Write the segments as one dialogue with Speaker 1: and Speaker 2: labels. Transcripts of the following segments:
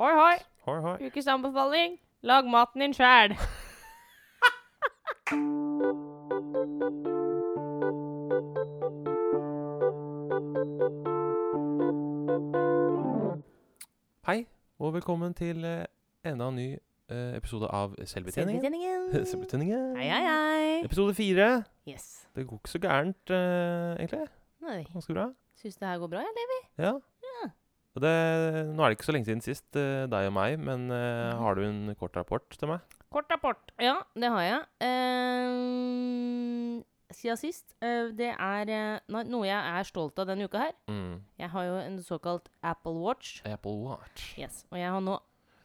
Speaker 1: Hoi, hoi.
Speaker 2: Hoi, hoi.
Speaker 1: Ukes anbefaling lag maten din sjæl.
Speaker 2: Hei, og velkommen til eh, enda en ny eh, episode av Selvbetjeningen.
Speaker 1: Selvbetjeningen.
Speaker 2: Selvbetjeningen.
Speaker 1: Hei, hei, hei.
Speaker 2: Episode fire.
Speaker 1: Yes.
Speaker 2: Det går ikke så gærent, eh, egentlig.
Speaker 1: Nei.
Speaker 2: Ganske bra.
Speaker 1: Syns det her går bra, eller?
Speaker 2: Ja. Og det, nå er det ikke så lenge siden sist, eh, deg og meg, men eh, har du en kort rapport til meg?
Speaker 1: Kort rapport. Ja, det har jeg. Ehm, siden sist. eh, det er eh, no- noe jeg er stolt av denne uka her.
Speaker 2: Mm.
Speaker 1: Jeg har jo en såkalt Apple Watch.
Speaker 2: Apple Watch.
Speaker 1: Yes, Og jeg har nå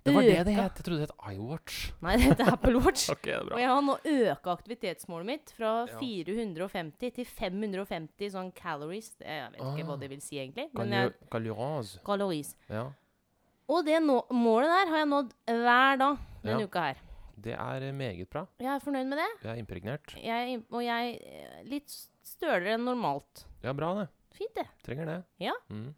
Speaker 2: Det var det det
Speaker 1: Øka.
Speaker 2: het. Jeg trodde det het iWatch.
Speaker 1: Nei, det heter Apple Watch.
Speaker 2: Ok, det er
Speaker 1: Og
Speaker 2: bra.
Speaker 1: jeg har nå øka aktivitetsmålet mitt fra
Speaker 2: Ja.
Speaker 1: 450 til 550 sånn calories. Eh, Jeg vet ikke hva
Speaker 2: Ah.
Speaker 1: det vil si egentlig. Men jeg,
Speaker 2: Calio- Calurans.
Speaker 1: calories.
Speaker 2: Ja.
Speaker 1: Og det nå, målet der har jeg nådd hver dag denne
Speaker 2: Ja.
Speaker 1: uka her.
Speaker 2: Det er eh, meget bra.
Speaker 1: Jeg er fornøyd med det.
Speaker 2: Jeg er impregnert.
Speaker 1: Jeg, og jeg er litt stølere enn normalt.
Speaker 2: Ja, bra det.
Speaker 1: Fint, det.
Speaker 2: Trenger det.
Speaker 1: Ja.
Speaker 2: Mm.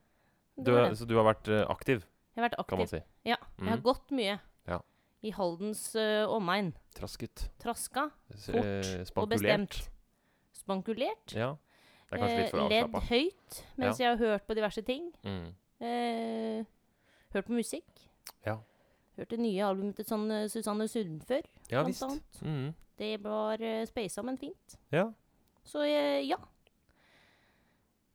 Speaker 1: Det
Speaker 2: Du,
Speaker 1: var
Speaker 2: er-
Speaker 1: det.
Speaker 2: så du har vært eh, aktiv,
Speaker 1: Jeg har vært
Speaker 2: kan man
Speaker 1: aktiv.
Speaker 2: si.
Speaker 1: Ja, jeg har
Speaker 2: Mm.
Speaker 1: gått mye.
Speaker 2: Ja.
Speaker 1: I Haldens ø, omegn.
Speaker 2: Trasket.
Speaker 1: Traska
Speaker 2: S-
Speaker 1: Fort
Speaker 2: eh,
Speaker 1: og bestemt. Spankulert.
Speaker 2: Ja. Det er kanskje litt for
Speaker 1: Eh, Ledd
Speaker 2: avslappa.
Speaker 1: høyt mens jeg har hørt på diverse ting.
Speaker 2: Mm.
Speaker 1: Eh, hørt på musikk.
Speaker 2: Ja.
Speaker 1: Hørt det nye albumet til sånn, eh, Susanne Sundfør,
Speaker 2: ja
Speaker 1: blant
Speaker 2: visst.
Speaker 1: annet.
Speaker 2: Mm.
Speaker 1: Det var uh, speisa, men fint.
Speaker 2: Ja.
Speaker 1: Så eh, ja.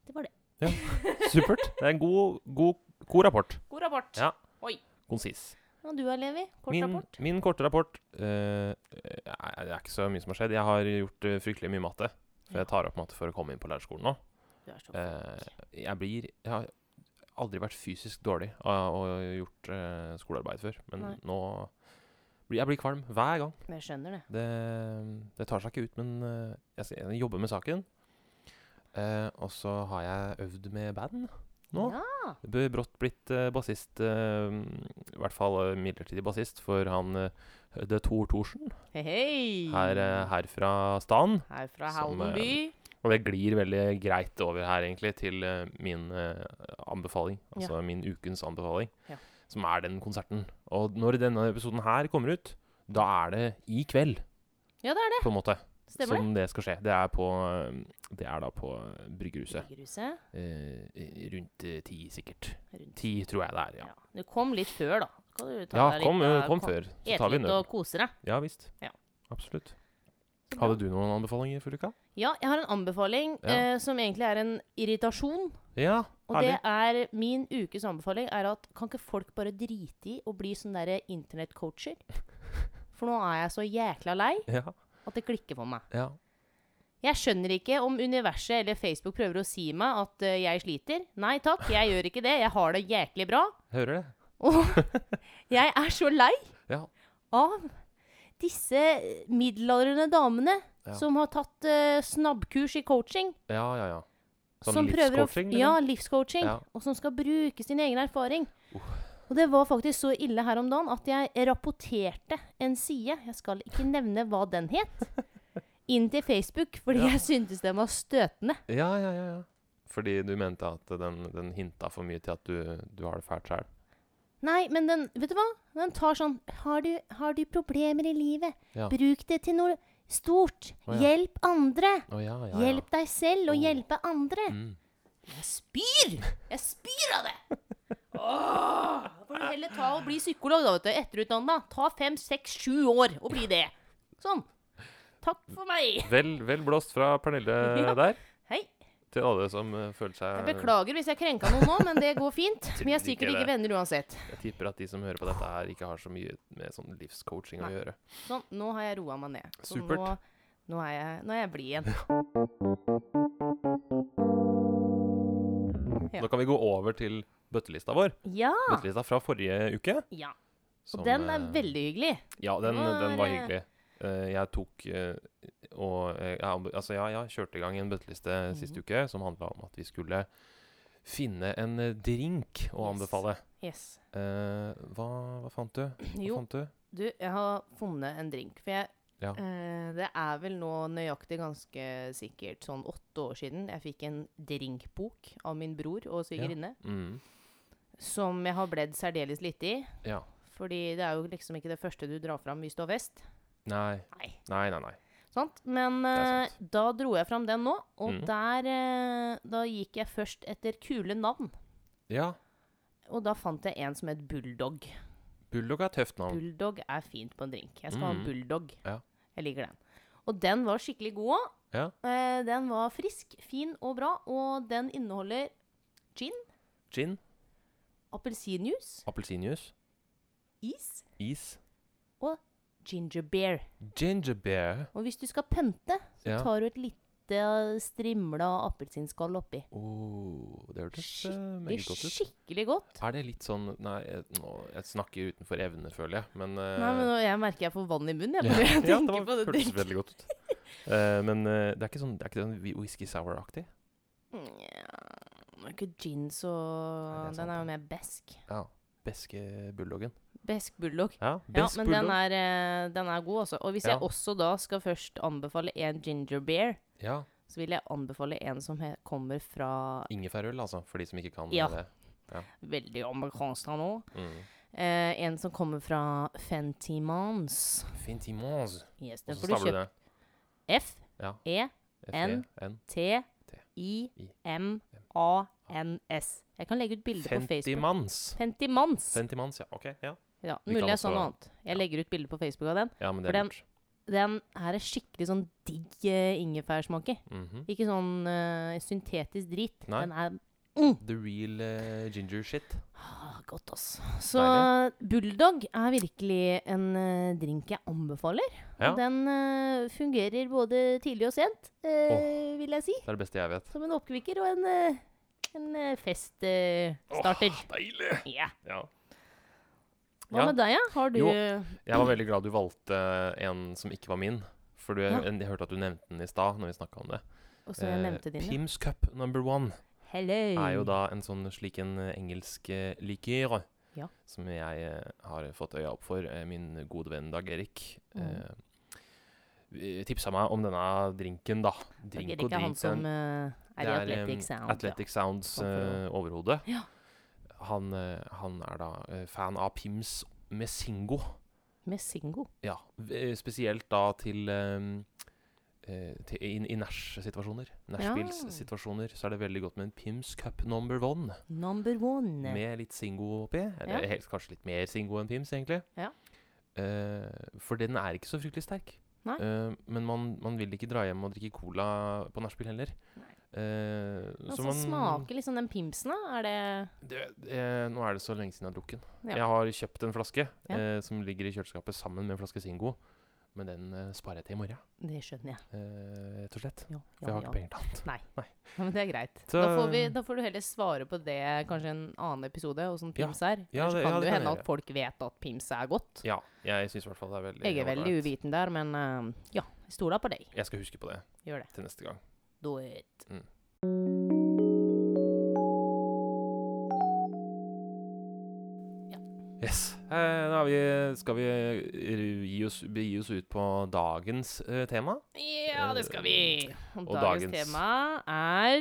Speaker 1: Det var det.
Speaker 2: Supert. Det er en god, god, god rapport.
Speaker 1: God rapport.
Speaker 2: Ja.
Speaker 1: Oi.
Speaker 2: Konsis.
Speaker 1: Og du da, Levi? Kort
Speaker 2: Min,
Speaker 1: rapport?
Speaker 2: min korte rapport eh, eh, Det er ikke så mye som har skjedd. Jeg har gjort eh, fryktelig mye matte. For jeg tar opp matte for å komme inn på lærerskolen nå.
Speaker 1: Du er så
Speaker 2: Eh,
Speaker 1: flink.
Speaker 2: jeg blir Jeg har aldri vært fysisk dårlig av å ha gjort eh, skolearbeid før, men
Speaker 1: Nei.
Speaker 2: nå blir Jeg blir kvalm hver gang.
Speaker 1: Jeg skjønner det.
Speaker 2: Det, det tar seg ikke ut, men eh, jeg, s- jeg jobber med saken. Eh, og så har jeg øvd med band nå.
Speaker 1: Ja.
Speaker 2: Det bør brått blitt eh, bassist, eh, i hvert fall eh, midlertidig bassist, for han eh, The Tor Thorsen
Speaker 1: Hei, hei.
Speaker 2: her, eh, her fra Stan.
Speaker 1: Her fra
Speaker 2: Som,
Speaker 1: Halden
Speaker 2: eh,
Speaker 1: by.
Speaker 2: Og det glir veldig greit over her, egentlig, til eh, min eh, anbefaling. Altså min ukens anbefaling,
Speaker 1: Ja.
Speaker 2: som er den konserten. Og når denne episoden her kommer ut, da er det i kveld,
Speaker 1: Ja, det er det.
Speaker 2: på en måte,
Speaker 1: Stemmer det?
Speaker 2: som det skal skje. Det er, på, eh, det er da på eh, Bryggerhuset.
Speaker 1: Bryggerhuset.
Speaker 2: Eh, eh, rundt eh, ti, sikkert.
Speaker 1: Rundt.
Speaker 2: Ti, tror jeg det er, ja.
Speaker 1: Ja. Du kom litt før, da. Kan du ta
Speaker 2: Ja,
Speaker 1: deg litt
Speaker 2: kom, eh,
Speaker 1: av-
Speaker 2: kom før, så
Speaker 1: Ete
Speaker 2: tar vi en
Speaker 1: litt
Speaker 2: øl.
Speaker 1: og kose deg.
Speaker 2: Ja visst.
Speaker 1: Ja.
Speaker 2: Absolutt.
Speaker 1: Så bra.
Speaker 2: Hadde du noen anbefalinger for uka?
Speaker 1: Ja, jeg har en anbefaling
Speaker 2: Ja.
Speaker 1: eh, som egentlig er en irritasjon.
Speaker 2: Ja,
Speaker 1: Og det er min ukes anbefaling er at kan ikke folk bare drite i å bli sånne derre internettcoacher? For nå er jeg så jækla lei
Speaker 2: Ja,
Speaker 1: at det klikker for meg.
Speaker 2: ja.
Speaker 1: Jeg skjønner ikke om universet eller Facebook prøver å si meg at eh, jeg sliter. Nei takk, jeg gjør ikke det. Jeg har det jæklig bra.
Speaker 2: Hører det.
Speaker 1: Og jeg er så lei
Speaker 2: Ja.
Speaker 1: av disse middelaldrende damene
Speaker 2: Ja.
Speaker 1: som har tatt eh, snabbkurs i coaching.
Speaker 2: Ja, ja, ja. Sånn
Speaker 1: som prøver å-
Speaker 2: livscoaching,
Speaker 1: Ja,
Speaker 2: liksom?
Speaker 1: livscoaching.
Speaker 2: Ja.
Speaker 1: Og som skal bruke sin egen erfaring.
Speaker 2: Uh.
Speaker 1: Og det var faktisk så ille her om dagen at jeg rapporterte en side, jeg skal ikke nevne hva den het, inn til Facebook fordi
Speaker 2: Ja.
Speaker 1: jeg syntes den var støtende.
Speaker 2: Ja, ja, ja, ja. Fordi du mente at den, den hinta for mye til at du, du har det fælt sjøl.
Speaker 1: Nei, men den Vet du hva? Den tar sånn Har du, har du problemer i livet?
Speaker 2: Ja.
Speaker 1: Bruk det til noe stort.
Speaker 2: Å, ja.
Speaker 1: Hjelp andre.
Speaker 2: Å ja, ja, ja.
Speaker 1: Hjelp deg selv og
Speaker 2: Oh.
Speaker 1: hjelpe andre.
Speaker 2: Mm.
Speaker 1: Jeg spyr! Jeg spyr av det! Åh, da får du heller ta og bli psykolog, da, vet du. Etterutdanna. Ta fem, seks, sju år og bli det. Sånn. Takk for meg.
Speaker 2: Vel, vel blåst fra Pernille
Speaker 1: Ja.
Speaker 2: der,
Speaker 1: Hei.
Speaker 2: til alle som eh,
Speaker 1: Jeg
Speaker 2: føler seg
Speaker 1: beklager hvis jeg krenka noen nå, men det går fint. Vi er
Speaker 2: Tror ikke
Speaker 1: sikkert
Speaker 2: det.
Speaker 1: ikke venner uansett.
Speaker 2: Jeg tipper at de som hører på dette her, ikke har så mye med sånn livscoaching å
Speaker 1: Nei.
Speaker 2: gjøre.
Speaker 1: Sånn, nå har jeg roa meg ned. Så
Speaker 2: Supert.
Speaker 1: Nå, nå er jeg, nå er jeg blid igjen. Ja.
Speaker 2: Nå kan vi gå over til bøttelista vår.
Speaker 1: Ja.
Speaker 2: Bøttelista fra forrige uke.
Speaker 1: ja.
Speaker 2: som,
Speaker 1: Ah. Og den er
Speaker 2: eh,
Speaker 1: veldig hyggelig.
Speaker 2: Ja, den,
Speaker 1: Nå er
Speaker 2: den var
Speaker 1: det-
Speaker 2: hyggelig. Eh, jeg tok eh, og eh, ja, Altså, ja, jeg kjørte i gang en bøtteliste
Speaker 1: Mhm.
Speaker 2: sist uke som handla om at vi skulle finne en eh, drink å
Speaker 1: Yes.
Speaker 2: anbefale.
Speaker 1: Yes.
Speaker 2: Eh, hva, hva fant du? Hva
Speaker 1: Jo,
Speaker 2: fant du?
Speaker 1: du, jeg har funnet en drink. For jeg
Speaker 2: Ja.
Speaker 1: eh, Det er vel nå nøyaktig ganske sikkert sånn åtte år siden jeg fikk en drinkbok av min bror og svigerinne.
Speaker 2: Mm.
Speaker 1: som jeg har bledd særdeles litt i.
Speaker 2: Ja.
Speaker 1: Fordi det er jo liksom ikke det første du drar fram hvis du har fest.
Speaker 2: Nei.
Speaker 1: Nei.
Speaker 2: Nei, nei, nei.
Speaker 1: Sant? Men
Speaker 2: er
Speaker 1: eh, da dro jeg fram den nå, og
Speaker 2: Mhm.
Speaker 1: der eh, Da gikk jeg først etter kule navn.
Speaker 2: Ja.
Speaker 1: Og da fant jeg en som het Bulldog.
Speaker 2: Bulldog er et tøft navn.
Speaker 1: Bulldog er fint på en drink. Jeg skal ha
Speaker 2: Mhm.
Speaker 1: en Bulldog.
Speaker 2: Ja.
Speaker 1: Jeg liker den. Og den var skikkelig god òg.
Speaker 2: Ja.
Speaker 1: den var frisk, fin og bra, og den inneholder
Speaker 2: Gin,
Speaker 1: appelsinjuice,
Speaker 2: appelsinjuice,
Speaker 1: is,
Speaker 2: is,
Speaker 1: ginger beer.
Speaker 2: ginger beer.
Speaker 1: Og hvis du skal pønte, så
Speaker 2: Ja.
Speaker 1: tar du et lite strimla appelsinskall oppi.
Speaker 2: Oh, det hørtes eh,
Speaker 1: Skikkelig,
Speaker 2: meget godt ut.
Speaker 1: skikkelig godt.
Speaker 2: Er det litt sånn Nei, jeg, nå, jeg snakker utenfor evne, føler jeg. Men, eh,
Speaker 1: Nei, men nå, Jeg merker jeg får vann i munnen. Jeg
Speaker 2: ja,
Speaker 1: bare
Speaker 2: ja, det
Speaker 1: tenker
Speaker 2: var,
Speaker 1: på det.
Speaker 2: hørtes
Speaker 1: drinken.
Speaker 2: veldig godt ut. Eh, men eh, det er ikke sånn Det er ikke sånn whi- whisky sour-aktig?
Speaker 1: Nja, nå er ikke gin så
Speaker 2: Nei, det er
Speaker 1: Den
Speaker 2: sant,
Speaker 1: er jo
Speaker 2: det.
Speaker 1: mer besk.
Speaker 2: Ja. Beske bulldoggen.
Speaker 1: Besk bulldog.
Speaker 2: Ja,
Speaker 1: Ja,
Speaker 2: besk
Speaker 1: men den
Speaker 2: bulldog.
Speaker 1: er, eh, den er god, altså. Og hvis jeg
Speaker 2: Ja.
Speaker 1: også da skal først anbefale en ginger beer,
Speaker 2: Ja,
Speaker 1: så vil jeg anbefale en som he kommer fra
Speaker 2: Ingefærøl, altså, for de som ikke kan
Speaker 1: Ja.
Speaker 2: det.
Speaker 1: Veldig amerikansk her nå.
Speaker 2: Mm.
Speaker 1: Eh, en som kommer fra Fenty Mons.
Speaker 2: Fintimons.
Speaker 1: Yes, den
Speaker 2: Og så
Speaker 1: får du
Speaker 2: stavler du
Speaker 1: kjøpt. E,
Speaker 2: det. Ja.
Speaker 1: N.
Speaker 2: N.
Speaker 1: F-E-N-T-I-M-A-N-S. Jeg kan legge ut bilder på Facebook.
Speaker 2: Fentimans.
Speaker 1: Fenty Mons.
Speaker 2: Fentimans, ja. Ok, ja.
Speaker 1: Ja,
Speaker 2: Vi
Speaker 1: mulig
Speaker 2: kan
Speaker 1: jeg sa noe
Speaker 2: også-
Speaker 1: annet. Jeg legger ut bilder på Facebook av den.
Speaker 2: ja men
Speaker 1: For
Speaker 2: det er
Speaker 1: den-
Speaker 2: lurt.
Speaker 1: Den her er skikkelig sånn digg eh, ingefærsmak i.
Speaker 2: Mhm.
Speaker 1: Ikke sånn eh, syntetisk drit.
Speaker 2: Nei.
Speaker 1: Den er
Speaker 2: The real eh, ginger shit.
Speaker 1: ah, godt, ass. Så Bulldog er virkelig en eh, drink jeg anbefaler.
Speaker 2: Ja.
Speaker 1: Og den eh, fungerer både tidlig og sent, eh, vil jeg si.
Speaker 2: Det er det beste jeg vet.
Speaker 1: Som en oppkvikker og en, eh, en feststarter.
Speaker 2: Åh, deilig!
Speaker 1: ja.
Speaker 2: Ja.
Speaker 1: Hva
Speaker 2: Ja.
Speaker 1: med deg, ja? Har du
Speaker 2: Jo. Jeg var veldig glad du valgte eh, en som ikke var min. For du,
Speaker 1: Ja.
Speaker 2: en, jeg hørte at du nevnte den i stad når vi snakka om det.
Speaker 1: Og så jeg
Speaker 2: Eh,
Speaker 1: nevnte dine.
Speaker 2: Pims Cup number one
Speaker 1: Hello.
Speaker 2: er jo da en sånn slik en eh, engelsk eh, likør.
Speaker 1: Ja.
Speaker 2: Som jeg eh, har fått øya opp for. eh, Min gode venn Dag Erik
Speaker 1: Mm.
Speaker 2: eh, tipsa meg om denne drinken, da.
Speaker 1: Det
Speaker 2: Drink
Speaker 1: er
Speaker 2: og
Speaker 1: ikke han
Speaker 2: drink.
Speaker 1: som
Speaker 2: den-
Speaker 1: eh, er i
Speaker 2: det er,
Speaker 1: Athletic
Speaker 2: em,
Speaker 1: Sound. ja.
Speaker 2: Athletic Sounds
Speaker 1: Sånn for å-
Speaker 2: eh, overhode.
Speaker 1: Ja.
Speaker 2: Han, eh, han er da eh, fan av Pims Messingo.
Speaker 1: Med Singo.
Speaker 2: Ja, v- eh, spesielt da til, ehm, eh, til I, i Nash-situasjoner. Nashbills-situasjoner så er det veldig godt med en Pims Cup number one.
Speaker 1: Number one.
Speaker 2: Med litt Singo oppi. Eller
Speaker 1: Ja.
Speaker 2: helst kanskje litt mer Singo enn Pims, egentlig.
Speaker 1: Ja.
Speaker 2: Eh, for den er ikke så fryktelig sterk.
Speaker 1: Nei.
Speaker 2: Eh, men man, man vil ikke dra hjem og drikke cola på nachspiel heller. Eh,
Speaker 1: Men så Altså, smaker liksom den pimpsen, da? Er det
Speaker 2: det, eh, nå er det så lenge siden jeg har drukket den.
Speaker 1: Ja.
Speaker 2: Jeg har kjøpt en flaske
Speaker 1: Ja.
Speaker 2: eh, som ligger i kjøleskapet sammen med en flaske Singo. Men den eh, sparer jeg til i morgen,
Speaker 1: Det skjønner jeg.
Speaker 2: eh, rett og slett.
Speaker 1: Ja,
Speaker 2: For jeg
Speaker 1: ja,
Speaker 2: har
Speaker 1: ja.
Speaker 2: ikke penger til annet.
Speaker 1: ja men det er greit.
Speaker 2: Så-
Speaker 1: Da får, vi, da får du heller svare på det kanskje en annen episode, åssen
Speaker 2: Ja.
Speaker 1: pims er.
Speaker 2: Ja,
Speaker 1: Ellers
Speaker 2: det- ja,
Speaker 1: kan det jo
Speaker 2: det kan
Speaker 1: hende
Speaker 2: jeg
Speaker 1: at folk vet at pims er godt.
Speaker 2: Ja, jeg syns i hvert fall det er veldig
Speaker 1: Jeg er veldig
Speaker 2: ålreit.
Speaker 1: uviten der, men eh, ja. Jeg stoler på deg.
Speaker 2: Jeg skal huske på det
Speaker 1: Gjør det.
Speaker 2: til neste gang.
Speaker 1: Do it.
Speaker 2: Mm. Yes. Eh, da er vi, skal vi eh, gi oss, begi oss ut på dagens eh, tema.
Speaker 1: Ja, det skal vi. Og
Speaker 2: og
Speaker 1: dagens,
Speaker 2: dagens.
Speaker 1: tema er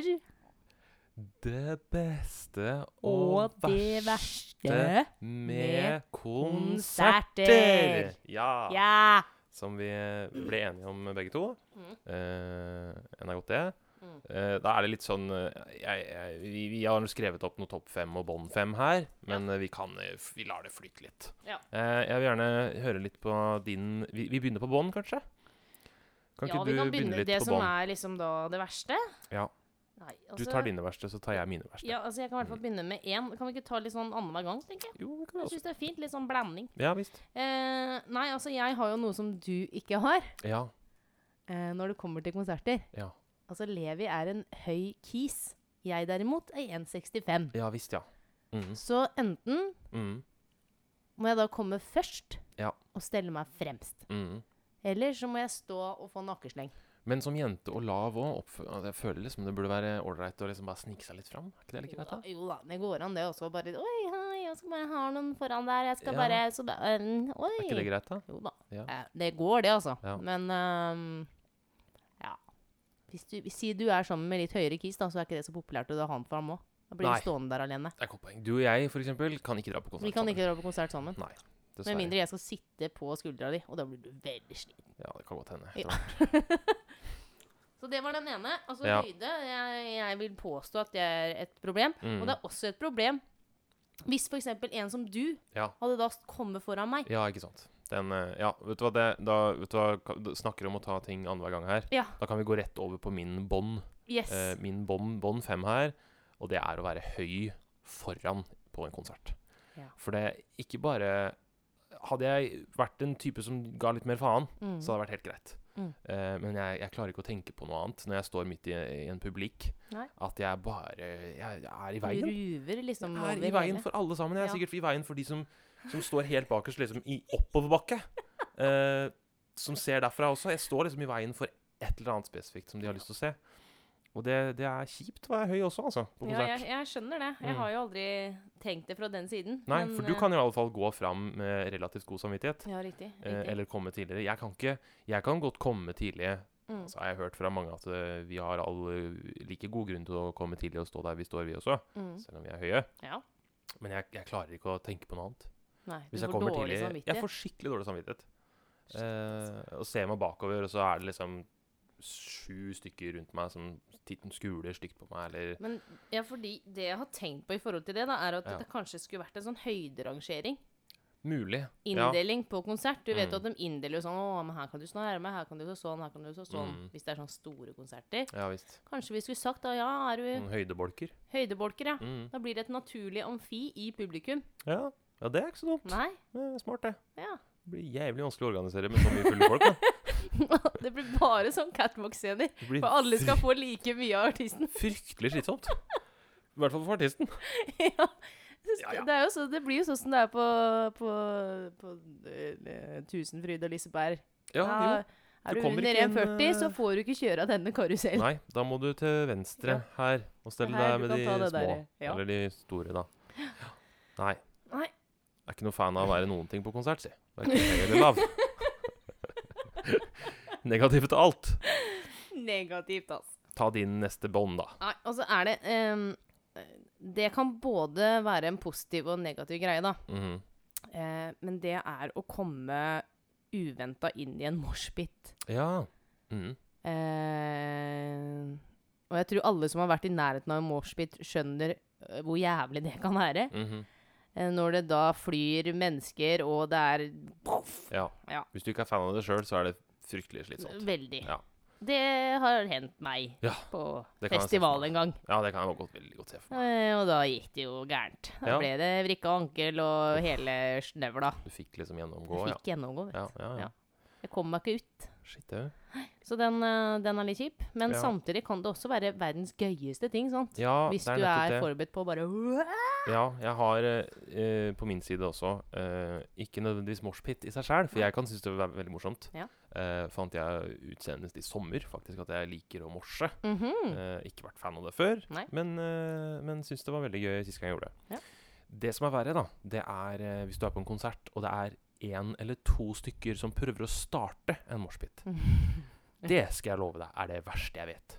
Speaker 2: Det beste
Speaker 1: Og
Speaker 2: og,
Speaker 1: det verste
Speaker 2: med
Speaker 1: med
Speaker 2: konserter. Ja.
Speaker 1: Ja!
Speaker 2: som vi ble enige om begge to.
Speaker 1: Mm.
Speaker 2: Eh, en har gått det.
Speaker 1: Mm.
Speaker 2: Eh, da er det litt sånn eh, jeg, jeg, vi, vi har skrevet opp noe topp fem og bånd fem her, men eh, vi, kan, eh, f- vi lar det flyte litt.
Speaker 1: Ja.
Speaker 2: Eh, jeg vil gjerne høre litt på din Vi, vi begynner på bånd, kanskje? Kan
Speaker 1: ja,
Speaker 2: ikke
Speaker 1: vi
Speaker 2: du
Speaker 1: kan
Speaker 2: begynne
Speaker 1: begynne
Speaker 2: litt
Speaker 1: det
Speaker 2: på
Speaker 1: som
Speaker 2: bånd?
Speaker 1: er liksom da det verste.
Speaker 2: Ja.
Speaker 1: Nei, altså
Speaker 2: Du tar dine verste, så tar jeg mine verste.
Speaker 1: Ja, altså jeg kan i hvert fall begynne med én. Kan vi ikke ta litt sånn annenhver gang, tenker jeg?
Speaker 2: Jo, det kan vi
Speaker 1: Jeg
Speaker 2: også.
Speaker 1: syns det er fint. Litt sånn blanding.
Speaker 2: Ja visst.
Speaker 1: Eh, nei, altså jeg har jo noe som du ikke har
Speaker 2: Ja.
Speaker 1: eh, når det kommer til konserter.
Speaker 2: Ja.
Speaker 1: Altså Levi er en høy kis. Jeg derimot er 1,65.
Speaker 2: ja visst, ja. Mhm,
Speaker 1: Så enten
Speaker 2: mhm,
Speaker 1: må jeg da komme først
Speaker 2: Ja.
Speaker 1: og stelle meg fremst.
Speaker 2: mhm.
Speaker 1: Eller så må jeg stå og få nakkesleng.
Speaker 2: Men som jente og lav òg, jeg føler liksom det burde være ålreit å liksom bare snike seg litt fram. Er ikke det litt
Speaker 1: Jo
Speaker 2: greit?
Speaker 1: da,
Speaker 2: da?
Speaker 1: jo da, det går an det også. Bare Oi, hei, jeg skal bare ha noen foran der. Jeg skal
Speaker 2: Ja.
Speaker 1: bare så bare, mm, Oi.
Speaker 2: Er ikke det greit, da?
Speaker 1: Jo da.
Speaker 2: Ja.
Speaker 1: Eh, Det går, det, altså.
Speaker 2: Ja.
Speaker 1: Men ehm, ja Hvis du, Si du er sammen med litt høyere kis, da, så er ikke det så populært å ha han fram òg. Da blir
Speaker 2: Nei.
Speaker 1: vi stående der alene.
Speaker 2: Det er et godt poeng. Du og jeg, for eksempel, kan ikke dra på konsert
Speaker 1: Vi kan
Speaker 2: sammen,
Speaker 1: ikke dra på konsert sammen.
Speaker 2: dessverre.
Speaker 1: Med mindre jeg skal sitte på skuldra di, og da blir du veldig sliten.
Speaker 2: Ja, det kan godt hende.
Speaker 1: Ja.
Speaker 2: etter hvert.
Speaker 1: Så det var den ene. Altså
Speaker 2: Ja.
Speaker 1: høyde. Jeg, jeg vil påstå at det er et problem.
Speaker 2: Mm.
Speaker 1: Og det er også et problem hvis f.eks. en som du
Speaker 2: Ja.
Speaker 1: hadde da kommet foran meg.
Speaker 2: Mm. ja, ikke sant. Den, eh, ja, vet du hva det da, vet du hva, ka- d- Snakker om å ta ting annenhver gang her.
Speaker 1: Ja.
Speaker 2: Da kan vi gå rett over på min bånd.
Speaker 1: Yes.
Speaker 2: Eh, min bånd bånd fem her, og det er å være høy foran på en konsert.
Speaker 1: Ja.
Speaker 2: For det er ikke bare Hadde jeg vært en type som ga litt mer faen,
Speaker 1: Mm.
Speaker 2: så hadde det vært helt greit.
Speaker 1: Mm.
Speaker 2: Eh, men jeg, jeg klarer ikke å tenke på noe annet når jeg står midt i, i en publikk,
Speaker 1: Nei.
Speaker 2: at jeg bare jeg er i
Speaker 1: Du
Speaker 2: veien.
Speaker 1: ruver liksom
Speaker 2: Jeg er
Speaker 1: over
Speaker 2: i veien
Speaker 1: hele.
Speaker 2: for alle sammen. Jeg er
Speaker 1: Ja.
Speaker 2: sikkert i veien for de som, som står helt bakerst, liksom i oppoverbakke. Eh, som ser derfra også. Jeg står liksom i veien for et eller annet spesifikt som de har lyst til å se. Og det, det er kjipt å være høy også, altså, på
Speaker 1: Ja, jeg,
Speaker 2: konsert.
Speaker 1: jeg skjønner det. Jeg
Speaker 2: Mm.
Speaker 1: har jo aldri tenkt det fra den siden.
Speaker 2: Nei,
Speaker 1: men,
Speaker 2: for du
Speaker 1: eh,
Speaker 2: kan i alle fall gå fram med relativt god samvittighet.
Speaker 1: Ja, riktig.
Speaker 2: eh,
Speaker 1: riktig.
Speaker 2: Eller komme tidligere. Jeg kan ikke Jeg kan godt komme tidlig.
Speaker 1: Mm.
Speaker 2: Så har jeg hørt fra mange at eh, vi har all eh, like god grunn til å komme tidlig og stå der vi står, vi også.
Speaker 1: Mm.
Speaker 2: Selv om vi er høye.
Speaker 1: Ja.
Speaker 2: Men jeg, jeg klarer ikke å tenke på noe annet.
Speaker 1: Nei, du
Speaker 2: Hvis jeg
Speaker 1: får
Speaker 2: kommer
Speaker 1: dårlig
Speaker 2: tidlig Jeg
Speaker 1: samvittighet.
Speaker 2: får skikkelig dårlig samvittighet.
Speaker 1: Shit,
Speaker 2: Eh, og ser meg bakover, og så er det liksom sju stykker rundt meg som titten skuler stygt på meg, eller
Speaker 1: Men ja, fordi det jeg har tenkt på i forhold til det, da, er at
Speaker 2: Ja.
Speaker 1: det kanskje skulle vært en sånn høyderangering.
Speaker 2: Mulig.
Speaker 1: Inndeling på konsert. Du vet jo
Speaker 2: Mm.
Speaker 1: at de inndeler jo sånn Å, men her kan du stå nærme, her kan du stå sånn, her kan du stå sånn.
Speaker 2: Mm.
Speaker 1: Hvis det er sånn store konserter.
Speaker 2: Ja, ja visst.
Speaker 1: Kanskje vi skulle sagt da ja, er du
Speaker 2: Noen høydebolker.
Speaker 1: høydebolker, ja.
Speaker 2: Mm.
Speaker 1: Da blir det et naturlig amfi i publikum.
Speaker 2: Ja. ja, det er ikke så dumt.
Speaker 1: Nei?
Speaker 2: Det er smart, det.
Speaker 1: Ja.
Speaker 2: Det blir jævlig vanskelig å organisere med så mye fulle folk. Da.
Speaker 1: det blir bare sånn catwalk-scener.
Speaker 2: Det blir
Speaker 1: For alle skal få like mye av artisten.
Speaker 2: fryktelig slitsomt. I hvert fall for artisten.
Speaker 1: ja.
Speaker 2: Ja, ja.
Speaker 1: Det, er jo så, det blir jo sånn som det er på, på, på eh, Tusenfryd og Liseberg.
Speaker 2: Ja, jo.
Speaker 1: Da er
Speaker 2: Du
Speaker 1: du
Speaker 2: kommer
Speaker 1: under
Speaker 2: ikke inn,
Speaker 1: 1,40, så
Speaker 2: eh,
Speaker 1: får du ikke kjøre av denne karusellen.
Speaker 2: Nei, da må du til venstre
Speaker 1: Ja.
Speaker 2: her og stelle
Speaker 1: Her,
Speaker 2: deg
Speaker 1: du
Speaker 2: med de
Speaker 1: kan ta
Speaker 2: små.
Speaker 1: det der, ja.
Speaker 2: Eller de store, da. Nei.
Speaker 1: Nei.
Speaker 2: Jeg er ikke noe fan av å være noen ting på konsert, si. Hverken høy eller lav. Negativt til alt.
Speaker 1: Negativt, altså.
Speaker 2: Ta din neste bånd, da.
Speaker 1: Nei, og så er det ehm, Det kan både være en positiv og en negativ greie, da.
Speaker 2: Mhm.
Speaker 1: Eh, men det er å komme uventa inn i en moshpit.
Speaker 2: Ja. Mhm.
Speaker 1: Eh, og jeg tror alle som har vært i nærheten av en moshpit, skjønner eh, hvor jævlig det kan være.
Speaker 2: Mhm.
Speaker 1: Eh, når det da flyr mennesker, og det er Poff!
Speaker 2: Ja.
Speaker 1: Ja.
Speaker 2: Hvis du ikke er fan av det sjøl, så er det fryktelig slitsomt.
Speaker 1: Veldig.
Speaker 2: Ja.
Speaker 1: Det har hendt meg
Speaker 2: Ja,
Speaker 1: på
Speaker 2: det kan jeg se for
Speaker 1: festival
Speaker 2: meg.
Speaker 1: en gang.
Speaker 2: Ja, det kan jeg godt, veldig godt se for meg.
Speaker 1: Eh, Og da gikk det jo gærent. Da
Speaker 2: Ja.
Speaker 1: ble det vrikka ankel og hele snøvla.
Speaker 2: Du fikk liksom gjennomgå,
Speaker 1: Jeg
Speaker 2: ja.
Speaker 1: fikk gjennomgå. vet
Speaker 2: Ja, ja, ja.
Speaker 1: Ja. du. Jeg kom meg ikke ut.
Speaker 2: Shit, det.
Speaker 1: Så den, eh, den er litt kjip. Men
Speaker 2: Ja.
Speaker 1: samtidig kan det også være verdens gøyeste ting. sant?
Speaker 2: Ja,
Speaker 1: Hvis
Speaker 2: det er
Speaker 1: du
Speaker 2: nettopp
Speaker 1: er forberedt
Speaker 2: det.
Speaker 1: på å bare
Speaker 2: Ja, jeg har eh, eh, på min side også eh, ikke nødvendigvis moshpit i seg sjøl, for jeg kan synes det er veldig morsomt.
Speaker 1: Ja.
Speaker 2: Eh, fant jeg ut senest i sommer, faktisk, at jeg liker å morse.
Speaker 1: Mhm.
Speaker 2: Eh, ikke vært fan av det før,
Speaker 1: Nei.
Speaker 2: men, eh, men syns det var veldig gøy sist gang jeg gjorde det.
Speaker 1: Ja.
Speaker 2: Det som er verre, da, det er eh, hvis du er på en konsert, og det er én eller to stykker som prøver å starte en moshpit. Det skal jeg love deg er det verste jeg vet.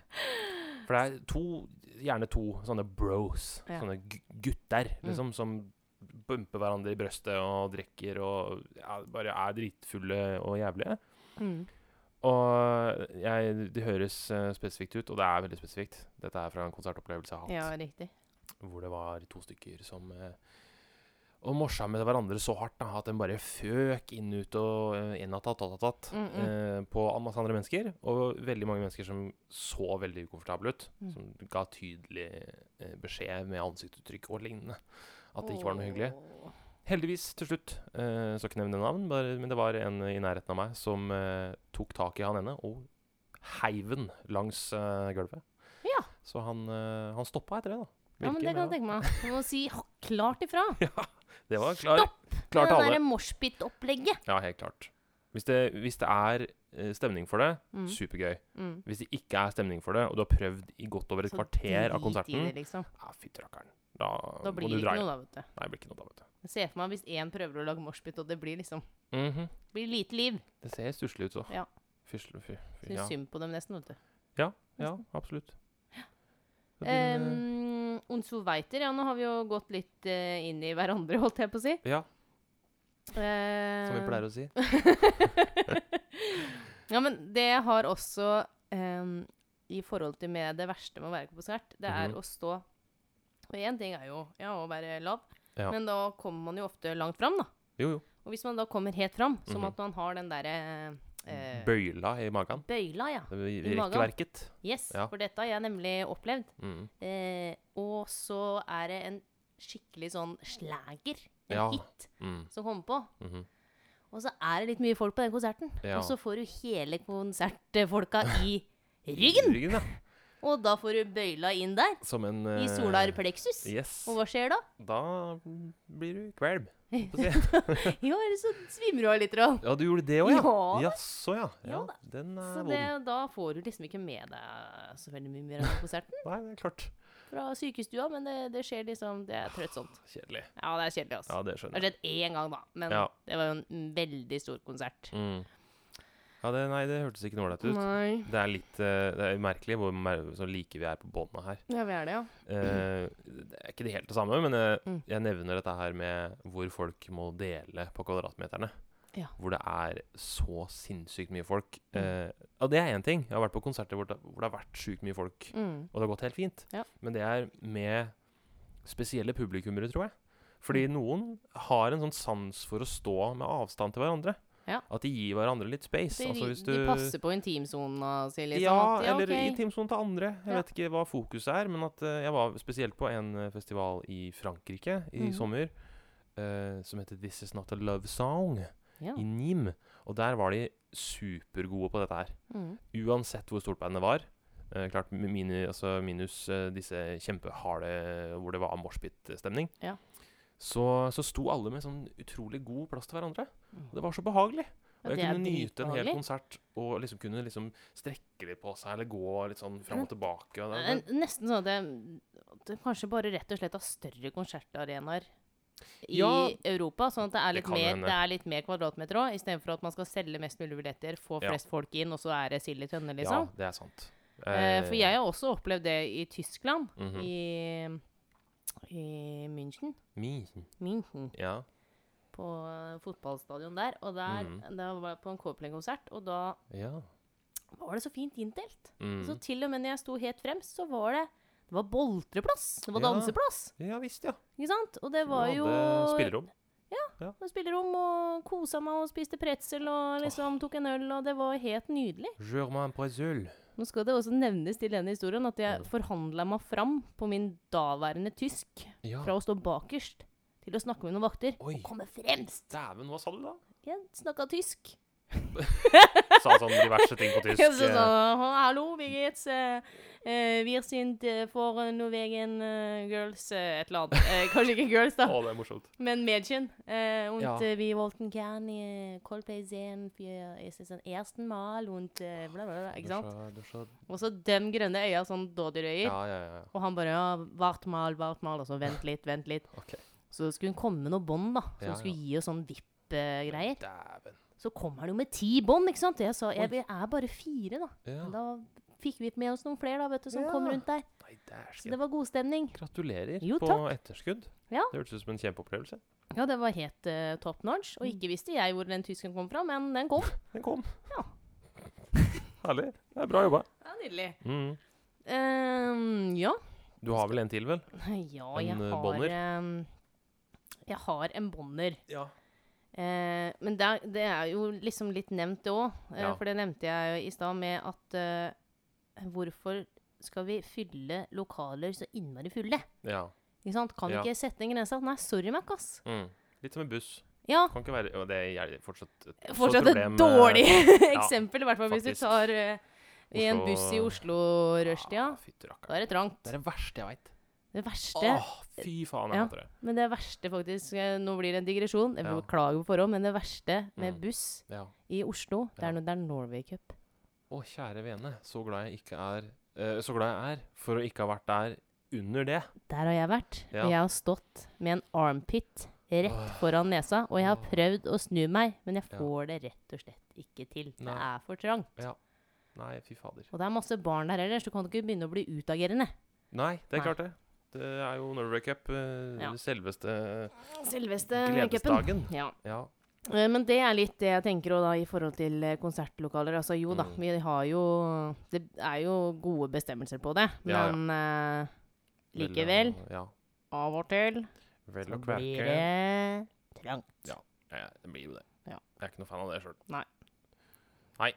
Speaker 2: For det er to, gjerne to sånne bros,
Speaker 1: Ja.
Speaker 2: sånne gu- gutter,
Speaker 1: Mm.
Speaker 2: liksom, som bumper hverandre i brøstet og drikker og ja, bare er dritfulle og jævlige.
Speaker 1: Mm.
Speaker 2: Og jeg, det høres eh, spesifikt ut, og det er veldig spesifikt. Dette er fra en konsertopplevelse jeg har hatt,
Speaker 1: Ja, riktig.
Speaker 2: hvor det var to stykker som eh, og morsa med hverandre så hardt da, at den bare føk inn ut og eh, inn og tatt, tatt, tatt, tatt
Speaker 1: Mm,
Speaker 2: eh, på en masse andre mennesker. Og veldig mange mennesker som så veldig ukomfortable ut.
Speaker 1: Mm.
Speaker 2: Som ga tydelig eh, beskjed med ansiktsuttrykk og lignende. At det ikke var noe hyggelig.
Speaker 1: Åh.
Speaker 2: Heldigvis, til slutt, eh, skal ikke nevne navn, bare, men det var en i nærheten av meg som eh, tok tak i han ene og heiv den langs eh, gulvet.
Speaker 1: Ja.
Speaker 2: Så han, eh, han stoppa etter det, da.
Speaker 1: Ja, men
Speaker 2: Virker,
Speaker 1: det kan jeg
Speaker 2: ja.
Speaker 1: tenke meg. Du må si ha- klart ifra.
Speaker 2: Det var klar, klar
Speaker 1: det
Speaker 2: tale.
Speaker 1: derre moshpit-opplegget.
Speaker 2: Ja, helt klart. Hvis det, hvis det er eh, stemning for det,
Speaker 1: Mm.
Speaker 2: supergøy.
Speaker 1: Mm.
Speaker 2: Hvis det ikke er stemning for det, og du har prøvd i godt over et
Speaker 1: Så
Speaker 2: kvarter av
Speaker 1: drit i
Speaker 2: konserten,
Speaker 1: det, liksom.
Speaker 2: ja, fytti rakkeren. Da,
Speaker 1: Da
Speaker 2: må
Speaker 1: blir
Speaker 2: du
Speaker 1: det
Speaker 2: dra
Speaker 1: ikke
Speaker 2: hjem.
Speaker 1: noe, da, vet du.
Speaker 2: Nei, det blir ikke noe da, vet du.
Speaker 1: Jeg ser for meg hvis én prøver å lage moshpit, og det blir liksom
Speaker 2: Mhm.
Speaker 1: blir lite liv.
Speaker 2: Det ser stusslig ut, så.
Speaker 1: Ja.
Speaker 2: Fysl, fy, fy,
Speaker 1: Syns
Speaker 2: ja.
Speaker 1: synd på dem nesten, vet du.
Speaker 2: ja, absolutt. Og din, eh,
Speaker 1: Ehm, Und so weiter. Ja, nå har vi jo gått litt eh, inn i hverandre, holdt jeg på å si.
Speaker 2: Ja,
Speaker 1: Eh,
Speaker 2: som vi pleier å si.
Speaker 1: Ja, men det jeg har også em, i forhold til med det verste med å være på konsert, det er
Speaker 2: Mhm.
Speaker 1: å stå Og én ting er jo ja, å være lav,
Speaker 2: Ja.
Speaker 1: men da kommer man jo ofte langt fram, da.
Speaker 2: Jo, jo.
Speaker 1: Og hvis man da kommer helt fram, som
Speaker 2: Mhm.
Speaker 1: at man har den derre eh,
Speaker 2: Bøyla i magen.
Speaker 1: Bøyla, ja.
Speaker 2: Det blir
Speaker 1: I magen.
Speaker 2: Rekkverket.
Speaker 1: Yes.
Speaker 2: Ja.
Speaker 1: For dette har jeg nemlig opplevd.
Speaker 2: Mm.
Speaker 1: Eh, og så er det en skikkelig sånn slager, en
Speaker 2: Ja.
Speaker 1: hit,
Speaker 2: Mm.
Speaker 1: som kommer på.
Speaker 2: mhm.
Speaker 1: Og så er det litt mye folk på den konserten.
Speaker 2: Ja.
Speaker 1: Og så får du hele konsertfolka i ryggen!
Speaker 2: Ryggen, ja.
Speaker 1: Og da får du bøyla inn der,
Speaker 2: Som en
Speaker 1: i
Speaker 2: eh,
Speaker 1: solar plexus.
Speaker 2: Yes.
Speaker 1: Og hva skjer da?
Speaker 2: Da blir du kvelm. holdt på å si.
Speaker 1: Jo, eller så svimmer du av litt. Rann.
Speaker 2: Ja, du gjorde det òg, ja?
Speaker 1: Ja.
Speaker 2: Jaså, ja. ja.
Speaker 1: Ja da.
Speaker 2: Den er
Speaker 1: Så det,
Speaker 2: vond.
Speaker 1: da får du liksom ikke med deg så veldig mye mer av konserten
Speaker 2: Nei, det er klart.
Speaker 1: fra sykestua, men det, det skjer liksom Det er trøttsomt.
Speaker 2: Kjedelig.
Speaker 1: Ja, det er kjedelig, altså.
Speaker 2: Ja, det
Speaker 1: Det
Speaker 2: skjønner jeg.
Speaker 1: har skjedd én gang, da. Men
Speaker 2: Ja.
Speaker 1: det var jo en veldig stor konsert.
Speaker 2: Mm. Ja, det, nei, det hørtes ikke noe ålreit ut.
Speaker 1: Nei.
Speaker 2: Det er litt eh, det er merkelig hvor mer- så like vi er på båndet her.
Speaker 1: Ja, vi er det, ja.
Speaker 2: Eh, det er ikke det helt det samme, men eh,
Speaker 1: Mm.
Speaker 2: jeg nevner dette her med hvor folk må dele på kvadratmeterne.
Speaker 1: Ja. Mm.
Speaker 2: Hvor det er så sinnssykt mye folk. Eh, ja, det er én ting. Jeg har vært på konserter hvor det, hvor det har vært sjukt mye folk.
Speaker 1: Mm.
Speaker 2: Og det har gått helt fint.
Speaker 1: Ja.
Speaker 2: Men det er med spesielle publikummere, tror jeg. Fordi
Speaker 1: Mm.
Speaker 2: noen har en sånn sans for å stå med avstand til hverandre.
Speaker 1: Ja.
Speaker 2: At de gir hverandre lilitt space.
Speaker 1: De,
Speaker 2: altså hvis du
Speaker 1: de passer på intimsona si, liksom.
Speaker 2: ja,
Speaker 1: at,
Speaker 2: eller
Speaker 1: ok.
Speaker 2: i teamsonen til andre. Jeg
Speaker 1: Ja.
Speaker 2: vet ikke hva fokuset er, men at eh, jeg var spesielt på en eh, festival i Frankrike i
Speaker 1: Mhm.
Speaker 2: sommer eh, som heter This Is Not A Love Song
Speaker 1: Ja.
Speaker 2: i Nîmes. Og der var de supergode på dette her.
Speaker 1: Mm.
Speaker 2: Uansett hvor stort bandet var. eh, klart mi- mini, altså Minus eh, disse kjempeharde hvor det var moshpit-stemning.
Speaker 1: Ja.
Speaker 2: Så, så sto alle med sånn utrolig god plass til hverandre.
Speaker 1: Mm.
Speaker 2: Og det var så behagelig.
Speaker 1: Ja,
Speaker 2: Og jeg
Speaker 1: det er
Speaker 2: kunne nyte en hel
Speaker 1: dritbehagelig.
Speaker 2: konsert og liksom kunne liksom strekke litt på seg eller gå litt sånn fram og tilbake. Og det,
Speaker 1: Mm. Men Nesten sånn at det, at det kanskje bare rett og slett har større konsertarenaer i
Speaker 2: Ja,
Speaker 1: Europa. Sånn at det er
Speaker 2: det
Speaker 1: litt,
Speaker 2: kan jo
Speaker 1: mer,
Speaker 2: hende.
Speaker 1: det er litt mer kvadratmeter òg, istedenfor at man skal selge mest mulig billetter, få
Speaker 2: Ja.
Speaker 1: flest folk inn, og så er det sild i tønne,
Speaker 2: ja,
Speaker 1: liksom.
Speaker 2: det er sant.
Speaker 1: Eh, For jeg har også opplevd det i Tyskland,
Speaker 2: Mhm.
Speaker 1: i, i München.
Speaker 2: Mi,
Speaker 1: München.
Speaker 2: ja.
Speaker 1: På eh, fotballstadion der. Og der,
Speaker 2: Mhm.
Speaker 1: da var jeg på en Copeland-konsert, og da
Speaker 2: ja.
Speaker 1: var det så fint inndelt.
Speaker 2: Mm.
Speaker 1: Så til og med når jeg sto helt fremst, så var det det var boltreplass. Det var
Speaker 2: Ja.
Speaker 1: danseplass.
Speaker 2: ja visst, ja.
Speaker 1: Ikke sant? Og det
Speaker 2: Du
Speaker 1: var jo
Speaker 2: hadde Spillerom.
Speaker 1: og Spillerom og kosa meg og spiste pretzel og liksom tok en øl, og det var helt nydelig.
Speaker 2: Germain Poisul.
Speaker 1: Nå skal det også nevnes til denne historien at jeg
Speaker 2: Mm.
Speaker 1: forhandla meg fram på min daværende tysk
Speaker 2: Ja.
Speaker 1: fra å stå bakerst til å snakke med noen vakter
Speaker 2: Oi.
Speaker 1: og komme fremst.
Speaker 2: Dæven, hva sa du da?
Speaker 1: Jeg snakka tysk.
Speaker 2: Sa sånn diverse ting på tysk.
Speaker 1: Jeg så
Speaker 2: eh,
Speaker 1: sa Hallo, Birgit. eh, eh, Wir sind eh, for Norwegian eh, girls eh, et eller annet. Eh, Kanskje ikke girls, da.
Speaker 2: Å, det er morsomt.
Speaker 1: Men Mädchen. Äh, und
Speaker 2: Ja.
Speaker 1: äh, wir wollten gerne Coldplay eh, sehen für es ist ein ersten Mal und äh, bla bla bla, ikke sant? Og så dem grønne øya, sånn dådyrøyer.
Speaker 2: Ja, ja, ja.
Speaker 1: Og han bare ja, vart mal, vart mal, og så vent litt, vent litt.
Speaker 2: Ok.
Speaker 1: Så skulle hun komme med noen bånd, da, som
Speaker 2: Ja, ja.
Speaker 1: skulle gi oss sånn VIP-greier.
Speaker 2: Dæven.
Speaker 1: Så kom han jo med ti bånd, ikke sant? Og Jeg sa jeg vil- er bare fire, da. Men
Speaker 2: Ja.
Speaker 1: Da fikk vi med oss noen flere, da, vet du, som kom
Speaker 2: Ja.
Speaker 1: rundt der.
Speaker 2: Nei,
Speaker 1: Så
Speaker 2: dæsken.
Speaker 1: det var god stemning.
Speaker 2: Gratulerer
Speaker 1: Jo,
Speaker 2: på
Speaker 1: takk.
Speaker 2: etterskudd.
Speaker 1: Ja.
Speaker 2: Det hørtes ut som en kjempeopplevelse.
Speaker 1: Ja, det var helt eh, top notch. Og ikke visste jeg hvor den tysken kom fra, men den kom.
Speaker 2: Den kom.
Speaker 1: Ja.
Speaker 2: Herlig. Det er bra jobba.
Speaker 1: Ja, nydelig.
Speaker 2: Mm.
Speaker 1: Ehm, ja.
Speaker 2: Du har vel en til, vel?
Speaker 1: ja, jeg
Speaker 2: En, eh,
Speaker 1: har
Speaker 2: bånder?
Speaker 1: ehm, jeg har en bånder.
Speaker 2: Ja.
Speaker 1: Eh, men det er, det er jo liksom litt nevnt, det òg. Eh,
Speaker 2: Ja.
Speaker 1: For det nevnte jeg jo i stad med at eh, Hvorfor skal vi fylle lokaler så innmari fulle?
Speaker 2: ja.
Speaker 1: Ikke sant? Kan vi
Speaker 2: Ja.
Speaker 1: ikke sette en grense? Nei, sorry, Mac, ass.
Speaker 2: Mm. Litt som en buss.
Speaker 1: Ja.
Speaker 2: Kan ikke være Og det er fortsatt et også
Speaker 1: Fortsatt et
Speaker 2: problem, eh,
Speaker 1: dårlig
Speaker 2: ja,
Speaker 1: eksempel, i hvert fall hvis du
Speaker 2: faktisk.
Speaker 1: tar eh, i en buss i Oslo-rushtida.
Speaker 2: Ah, Fytti
Speaker 1: Da
Speaker 2: rakkeren.
Speaker 1: er det trangt.
Speaker 2: Det er det verste jeg veit.
Speaker 1: Det verste
Speaker 2: Åh, fy faen, jeg
Speaker 1: Ja.
Speaker 2: hater det.
Speaker 1: Men det verste faktisk eh, Nå blir det en digresjon. Jeg
Speaker 2: Ja.
Speaker 1: beklager på forhånd, men det verste med
Speaker 2: Mm.
Speaker 1: buss
Speaker 2: Ja.
Speaker 1: i Oslo, det
Speaker 2: Ja.
Speaker 1: er når det er Norway Cup.
Speaker 2: Å, kjære vene, så glad jeg ikke er eh, Så glad jeg er for å ikke ha vært der under det.
Speaker 1: Der har jeg vært.
Speaker 2: Ja.
Speaker 1: Og jeg har stått med en armpit rett
Speaker 2: Åh.
Speaker 1: foran nesa, og jeg har
Speaker 2: Åh.
Speaker 1: prøvd å snu meg, men jeg
Speaker 2: Ja.
Speaker 1: får det rett og slett ikke til. Det
Speaker 2: Nei.
Speaker 1: er for trangt.
Speaker 2: Nei, fy fader.
Speaker 1: Og det er masse barn der ellers, så kan du ikke begynne å bli utagerende.
Speaker 2: Nei, det er
Speaker 1: Nei.
Speaker 2: klart det. Det er jo Norway Cup, eh,
Speaker 1: Ja.
Speaker 2: selveste
Speaker 1: Selveste cupen.
Speaker 2: gledesdagen.
Speaker 1: Ja.
Speaker 2: Ja.
Speaker 1: Eh, Men det er litt det jeg tenker også da, i forhold til eh, konsertlokaler. Altså jo da,
Speaker 2: Mm.
Speaker 1: vi har jo Det er jo gode bestemmelser på det,
Speaker 2: Ja, ja.
Speaker 1: men eh,
Speaker 2: Vel,
Speaker 1: likevel,
Speaker 2: Ja.
Speaker 1: av og til,
Speaker 2: Vel
Speaker 1: så
Speaker 2: å
Speaker 1: blir
Speaker 2: kverke.
Speaker 1: det trangt.
Speaker 2: Ja, det blir jo det.
Speaker 1: Ja.
Speaker 2: Jeg er ikke noe fan av det sjøl.
Speaker 1: Nei.
Speaker 2: Nei.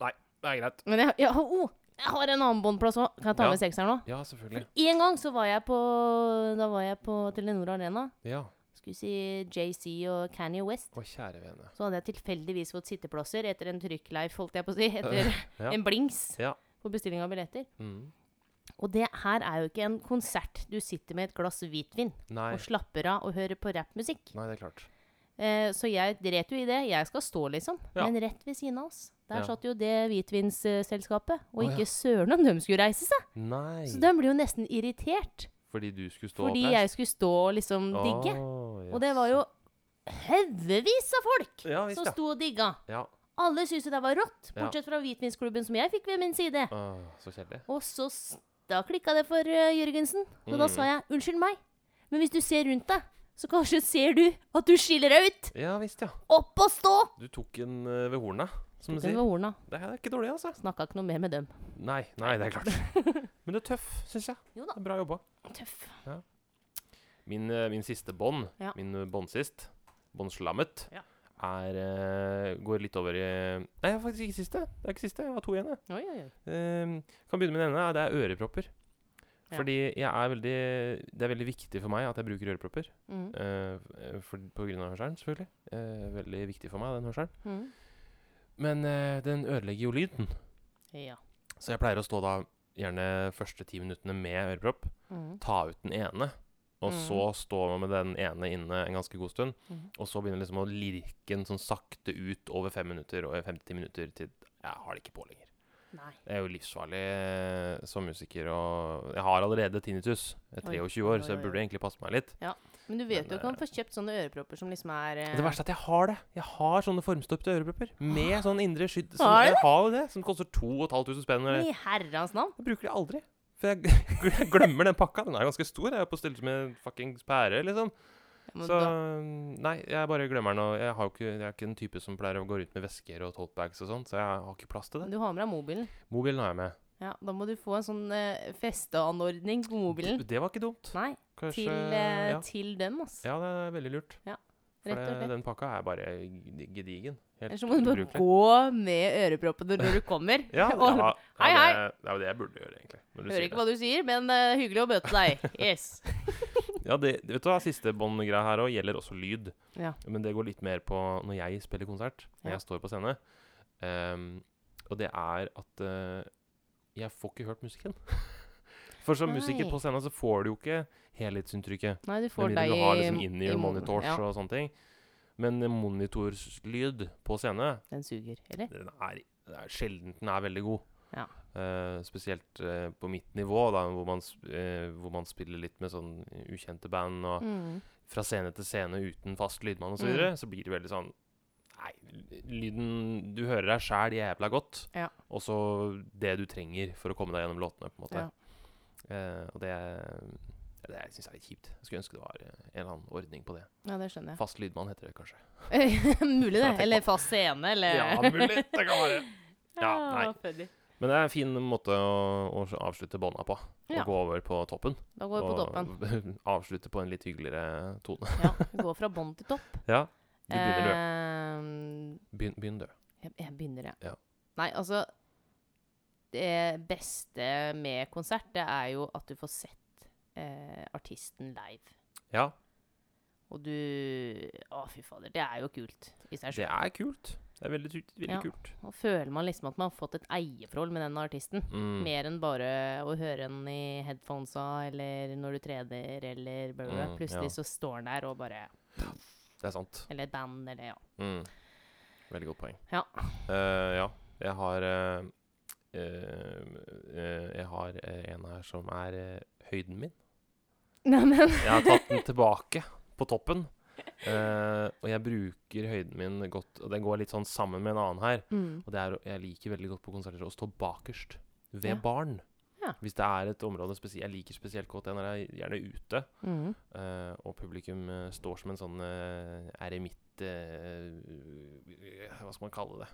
Speaker 2: Nei, det er greit.
Speaker 1: Men jeg, jeg, har- oh, jeg har en annen båndplass òg. Kan jeg ta
Speaker 2: Ja.
Speaker 1: med sekseren nå?
Speaker 2: Ja, selvfølgelig.
Speaker 1: En gang så var jeg på Da var jeg på Telenor Arena.
Speaker 2: Ja.
Speaker 1: Skulle si JC og Kanye West.
Speaker 2: Å, kjære vene.
Speaker 1: Så hadde jeg tilfeldigvis fått sitteplasser etter en trykkleif, holdt jeg på å si. Etter
Speaker 2: Ja.
Speaker 1: en blings
Speaker 2: Ja.
Speaker 1: på bestilling av billetter.
Speaker 2: Mm.
Speaker 1: Og det her er jo ikke en konsert du sitter med et glass hvitvin
Speaker 2: Nei.
Speaker 1: og slapper av og hører på rappmusikk.
Speaker 2: Nei, det er klart.
Speaker 1: Eh, så jeg dret jo i det. Jeg skal stå, liksom.
Speaker 2: Ja.
Speaker 1: Men rett ved siden av oss, der
Speaker 2: Ja.
Speaker 1: satt jo det hvitvinsselskapet. Og
Speaker 2: Å, ja.
Speaker 1: ikke søren om de skulle reise seg!
Speaker 2: Nei.
Speaker 1: Så de ble jo nesten irritert.
Speaker 2: Fordi du skulle stå
Speaker 1: Fordi jeg
Speaker 2: oppreist?
Speaker 1: skulle stå og liksom digge.
Speaker 2: Å,
Speaker 1: Og det var jo haugevis av folk
Speaker 2: Ja visst,
Speaker 1: som
Speaker 2: ja.
Speaker 1: sto og digga.
Speaker 2: ja.
Speaker 1: Alle syntes jo det var rått,
Speaker 2: Ja.
Speaker 1: bortsett fra hvitvinsklubben som jeg fikk ved min side.
Speaker 2: Å, så kjedelig.
Speaker 1: Og så s- da klikka det for eh, Jørgensen. Og da
Speaker 2: Mm.
Speaker 1: sa jeg unnskyld meg, men hvis du ser rundt deg, så kanskje ser du at du skiller deg ut.
Speaker 2: Ja visst, ja.
Speaker 1: Opp og stå!
Speaker 2: Du tok en eh, ved horna, som du
Speaker 1: Den
Speaker 2: sier.
Speaker 1: var ordene.
Speaker 2: Det er ikke dårlig, altså.
Speaker 1: Snakka ikke noe mer med dem.
Speaker 2: Nei, nei, det er klart. Men du er tøff, syns jeg.
Speaker 1: Jo da.
Speaker 2: Det er Bra jobba.
Speaker 1: Tøff.
Speaker 2: Min, eh, min siste bånd,
Speaker 1: Ja.
Speaker 2: min eh, båndsist, båndslammet,
Speaker 1: Ja.
Speaker 2: er eh, Går litt over i Nei, jeg har faktisk ikke siste. Det er ikke siste. Jeg har to igjen, jeg.
Speaker 1: Oi, oi, oi.
Speaker 2: Ehm, kan begynne med den ene. Det er ørepropper.
Speaker 1: Ja.
Speaker 2: Fordi jeg er veldig, det er veldig viktig for meg at jeg bruker ørepropper.
Speaker 1: Mm.
Speaker 2: eh, f- for, på grunn av hørselen, selvfølgelig. Eh, veldig viktig for meg, den hørselen.
Speaker 1: Mm.
Speaker 2: Men eh, den ødelegger jo lyden.
Speaker 1: Ja.
Speaker 2: Så jeg pleier å stå da gjerne første ti minuttene med ørepropp,
Speaker 1: Mm.
Speaker 2: ta ut den ene, og
Speaker 1: Mhm.
Speaker 2: så stå med den ene inne en ganske god stund,
Speaker 1: Mhm.
Speaker 2: og så begynner liksom å lirke den sånn sakte ut over fem minutter, og 50 minutter til jeg har det ikke på lenger.
Speaker 1: Nei.
Speaker 2: Det er jo livsfarlig eh, som musiker, og jeg har allerede tinnitus. Jeg er
Speaker 1: Oi,
Speaker 2: 23
Speaker 1: oi,
Speaker 2: år, så
Speaker 1: oi,
Speaker 2: jeg burde
Speaker 1: oi.
Speaker 2: egentlig passe meg litt.
Speaker 1: Men du vet
Speaker 2: Men,
Speaker 1: jo du kan
Speaker 2: eh,
Speaker 1: få kjøpt sånne ørepropper som liksom er eh, Ah.
Speaker 2: Og det verste er at jeg har det. Jeg har sånne formstøpte ørepropper med sånn indre skydd. Som,
Speaker 1: Har du
Speaker 2: jeg har jo det, som koster 2500 spenn. eller-
Speaker 1: eh, I herrens navn.
Speaker 2: Jeg bruker de aldri. For jeg, gl- jeg glemmer den pakka. Den er ganske stor. Jeg er på størrelse med en fuckings pære, liksom.
Speaker 1: Ja, men
Speaker 2: Så mm,
Speaker 1: da-
Speaker 2: nei, jeg bare glemmer den. Og jeg, har jo ikke, jeg er ikke den type som pleier å gå rundt med vesker og totebags og sånn, så jeg har ikke plass til det.
Speaker 1: Du har med deg mobilen.
Speaker 2: Mobilen har jeg med.
Speaker 1: Ja, Da må du få en sånn eh, festeanordning på mobilen.
Speaker 2: D- Det var ikke dumt.
Speaker 1: Nei,
Speaker 2: Kanskje
Speaker 1: til, eh,
Speaker 2: ja.
Speaker 1: til dem, altså.
Speaker 2: ja, det er veldig lurt. For
Speaker 1: Rett og slett.
Speaker 2: det, den pakka er bare gedigen. Helt
Speaker 1: Ellers så må du bare
Speaker 2: ubrukelig.
Speaker 1: gå med øreproppene når du kommer.
Speaker 2: Ja, det
Speaker 1: og
Speaker 2: var, det, var
Speaker 1: Hei, hei.
Speaker 2: Det, det er jo det jeg burde gjøre, egentlig. Når du
Speaker 1: hører
Speaker 2: sier
Speaker 1: ikke
Speaker 2: det.
Speaker 1: hva du sier, men eh, hyggelig å møte deg. Yes.
Speaker 2: Ja, det, vet du hva, Siste båndgreia her òg gjelder også lyd.
Speaker 1: Ja.
Speaker 2: Men det går litt mer på når jeg spiller konsert, når
Speaker 1: Ja.
Speaker 2: jeg står på scene. Ehm, og det er at eh, jeg får ikke hørt musikken. For som musiker
Speaker 1: Nei.
Speaker 2: på scenen så får du jo ikke helhetsinntrykket.
Speaker 1: Nei, du
Speaker 2: Med
Speaker 1: får
Speaker 2: mindre
Speaker 1: deg
Speaker 2: du har liksom in
Speaker 1: i
Speaker 2: ear
Speaker 1: munnen.
Speaker 2: monitors
Speaker 1: Ja,
Speaker 2: og sånne ting. Men eh, monitorslyd på scene,
Speaker 1: den suger, eller?
Speaker 2: den er, det er sjelden den er veldig god.
Speaker 1: Ja.
Speaker 2: Eh, spesielt eh, på mitt nivå, da, hvor, man, sp- eh, hvor man spiller litt med sånn ukjente band. Og
Speaker 1: Mm.
Speaker 2: fra scene til scene uten fast lydmann osv., så, videre, så blir det veldig sånn Nei, lyden Du hører deg sjæl jævla godt,
Speaker 1: Ja.
Speaker 2: og så det du trenger for å komme deg gjennom låtene, på en måte.
Speaker 1: Ja.
Speaker 2: Eh, og det det syns jeg er litt kjipt. Jeg skulle ønske det var eh, en eller annen ordning på det.
Speaker 1: ja, det skjønner jeg.
Speaker 2: Fast lydmann heter det kanskje.
Speaker 1: mulig det.
Speaker 2: Jeg tenker
Speaker 1: Eller fast scene, eller
Speaker 2: Ja, mulig det kan være. Ja, nei.
Speaker 1: Ah, funny.
Speaker 2: Men det er en fin måte å, å avslutte bånda på. Å
Speaker 1: Ja.
Speaker 2: gå over på toppen.
Speaker 1: Da går vi på toppen.
Speaker 2: toppen. avslutte på en litt hyggeligere tone.
Speaker 1: Ja, vi går fra bånn til topp.
Speaker 2: Ja.
Speaker 1: Eh.
Speaker 2: Du begynner, du.
Speaker 1: Ehm,
Speaker 2: Begynn, begynn du.
Speaker 1: Jeg, jeg begynner, jeg.
Speaker 2: Ja.
Speaker 1: Nei, altså Det beste med konsert, det er jo at du får sett eh, artisten live.
Speaker 2: Ja,
Speaker 1: Og du Å, fy fader. Det er jo kult i seg
Speaker 2: det
Speaker 1: sjøl.
Speaker 2: er kult. Det er veldig, tu-
Speaker 1: Ja.
Speaker 2: veldig kult.
Speaker 1: Nå føler man liksom at man har fått et eierforhold med den artisten.
Speaker 2: Mm.
Speaker 1: Mer enn bare å høre den i headphonesa, eller når du trener, eller bla, bla, bla.
Speaker 2: Mm,
Speaker 1: Plutselig
Speaker 2: ja.
Speaker 1: så står han der og bare
Speaker 2: Det er sant.
Speaker 1: Eller et band, eller ja.
Speaker 2: Mm. Veldig godt poeng.
Speaker 1: Ja.
Speaker 2: Eh, ja. Jeg har eh, eh, eh, Jeg har eh, en her som er eh, høyden min.
Speaker 1: Neimen
Speaker 2: Jeg har tatt den tilbake på toppen. Eh, og jeg bruker høyden min godt Og den går litt sånn sammen med en annen her.
Speaker 1: mm.
Speaker 2: Og det er, å- jeg liker veldig godt på konserter å stå bakerst. Ved
Speaker 1: Ja.
Speaker 2: barn.
Speaker 1: Ja.
Speaker 2: Hvis det er et område spesi- jeg liker spesielt godt, det er når jeg er gjerne ute,
Speaker 1: Mm.
Speaker 2: eh, og publikum eh, står som en sånn eh, eremitt eh, Hva skal man kalle det?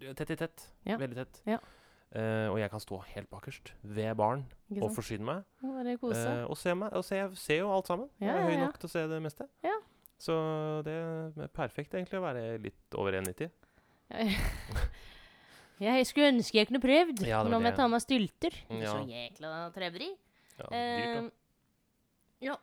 Speaker 2: De- Tett i tett.
Speaker 1: Ja.
Speaker 2: Veldig tett.
Speaker 1: Ja.
Speaker 2: Eh, og jeg kan stå helt bakerst ved baren
Speaker 1: Ikke
Speaker 2: og
Speaker 1: sant?
Speaker 2: forsyne meg.
Speaker 1: Må Bare kose.
Speaker 2: eh, og se meg, og se, jeg ser jo alt sammen.
Speaker 1: Ja,
Speaker 2: jeg er høy
Speaker 1: ja, ja.
Speaker 2: nok til å se det meste.
Speaker 1: Ja.
Speaker 2: Så det er perfekt egentlig å være litt over 1,90.
Speaker 1: Jeg skulle ønske jeg kunne prøvd.
Speaker 2: Eh. Ja, det var
Speaker 1: Nå må jeg
Speaker 2: det.
Speaker 1: ta meg stylter.
Speaker 2: Ja.
Speaker 1: Så jækla trevrig.
Speaker 2: Ja, dyrt, da.
Speaker 1: Eh, ja.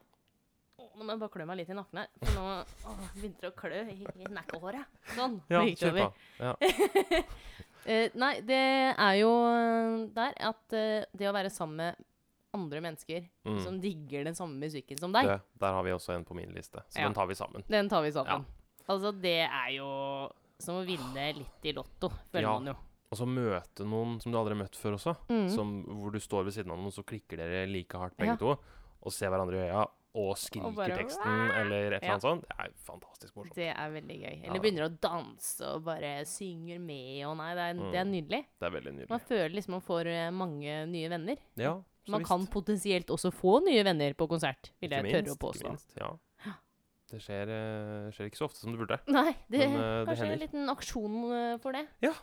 Speaker 1: Å, nå må jeg bare klø meg litt i nakken her. For nå å, begynte det å klø i, i nakkehåret. Sånn.
Speaker 2: Ja,
Speaker 1: nå gikk det
Speaker 2: kjør på.
Speaker 1: over. Eh, nei, det er jo eh, der at eh, det å være sammen med andre mennesker
Speaker 2: Mm.
Speaker 1: som digger den samme musikken som deg,
Speaker 2: Det, der har vi også en på min liste, så
Speaker 1: Ja.
Speaker 2: den tar vi sammen.
Speaker 1: den tar vi sammen. Altså, det er jo som å vinne litt i Lotto, føler
Speaker 2: Ja.
Speaker 1: man jo.
Speaker 2: Og så møte noen som du aldri har møtt før også,
Speaker 1: Mm.
Speaker 2: som, hvor du står ved siden av noen, så klikker dere like hardt begge
Speaker 1: Ja.
Speaker 2: to, og ser hverandre i øya, og skriker
Speaker 1: Og bare,
Speaker 2: teksten, eller et eller
Speaker 1: Ja.
Speaker 2: annet sånt. Det er fantastisk morsomt.
Speaker 1: Det er veldig gøy.
Speaker 2: Ja,
Speaker 1: Eller
Speaker 2: det-
Speaker 1: begynner å danse og bare synger med og Nei, det er,
Speaker 2: Mm.
Speaker 1: det er nydelig.
Speaker 2: Det er veldig nydelig.
Speaker 1: Man føler liksom man får eh, mange nye venner.
Speaker 2: Ja, så
Speaker 1: Man
Speaker 2: visst.
Speaker 1: kan potensielt også få nye venner på konsert, vil jeg
Speaker 2: Ikke
Speaker 1: tørre
Speaker 2: minst,
Speaker 1: å
Speaker 2: ikke
Speaker 1: påstå.
Speaker 2: minst, Ja. Det skjer, eh, skjer ikke så ofte som det burde.
Speaker 1: Nei, det,
Speaker 2: Men, eh, det
Speaker 1: kanskje en
Speaker 2: hender.
Speaker 1: liten aksjon eh, for det.
Speaker 2: Ja.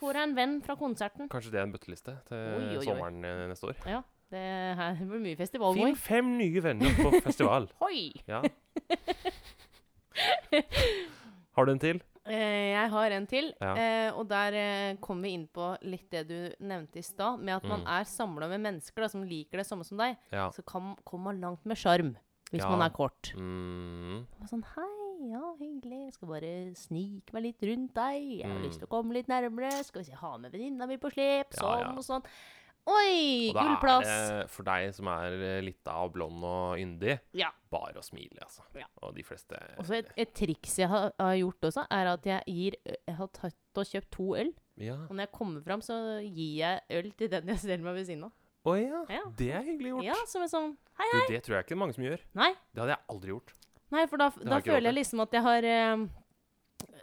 Speaker 1: Får deg en venn fra konserten.
Speaker 2: Kanskje det er en bøtteliste til
Speaker 1: Oi, oi, oi.
Speaker 2: sommeren eh, neste år.
Speaker 1: Ja, det her blir mye festival nå.
Speaker 2: Finn fem nye venner på festival.
Speaker 1: Hoi!
Speaker 2: Ja. Har du en til?
Speaker 1: Eh, jeg har en til,
Speaker 2: Ja.
Speaker 1: eh, og der eh, kom vi inn på litt det du nevnte i stad, med at man
Speaker 2: Mm.
Speaker 1: er samla med mennesker da, som liker det samme som deg.
Speaker 2: Ja.
Speaker 1: Så kan, kommer man langt med sjarm hvis
Speaker 2: Ja.
Speaker 1: man er kort.
Speaker 2: Mm.
Speaker 1: Og Sånn, hei, ja, hyggelig, jeg skal bare snike meg litt rundt deg. Jeg har
Speaker 2: Mm.
Speaker 1: lyst til å komme litt nærmere. Skal vi se, ha med venninna mi på slep,
Speaker 2: Ja,
Speaker 1: sånn
Speaker 2: ja.
Speaker 1: og sånn. Oi,
Speaker 2: da
Speaker 1: gull
Speaker 2: er
Speaker 1: plass.
Speaker 2: det for deg som er eh, litt av blond og yndig,
Speaker 1: Ja.
Speaker 2: bare å smile, altså.
Speaker 1: Ja.
Speaker 2: Og de fleste
Speaker 1: Og så et, et triks jeg har, har gjort også, er at jeg, gir, jeg har tatt og kjøpt to øl.
Speaker 2: Ja.
Speaker 1: Og når jeg kommer fram, så gir jeg øl til den jeg stiller meg ved siden av.
Speaker 2: Å ja.
Speaker 1: Ja.
Speaker 2: Det er hyggelig gjort.
Speaker 1: Ja, som en sånn Hei,
Speaker 2: Du,
Speaker 1: hei.
Speaker 2: det tror jeg ikke det er mange som gjør.
Speaker 1: Nei,
Speaker 2: Det hadde jeg aldri gjort.
Speaker 1: nei for da, da
Speaker 2: har jeg ikke råd
Speaker 1: føler jeg liksom at jeg har eh,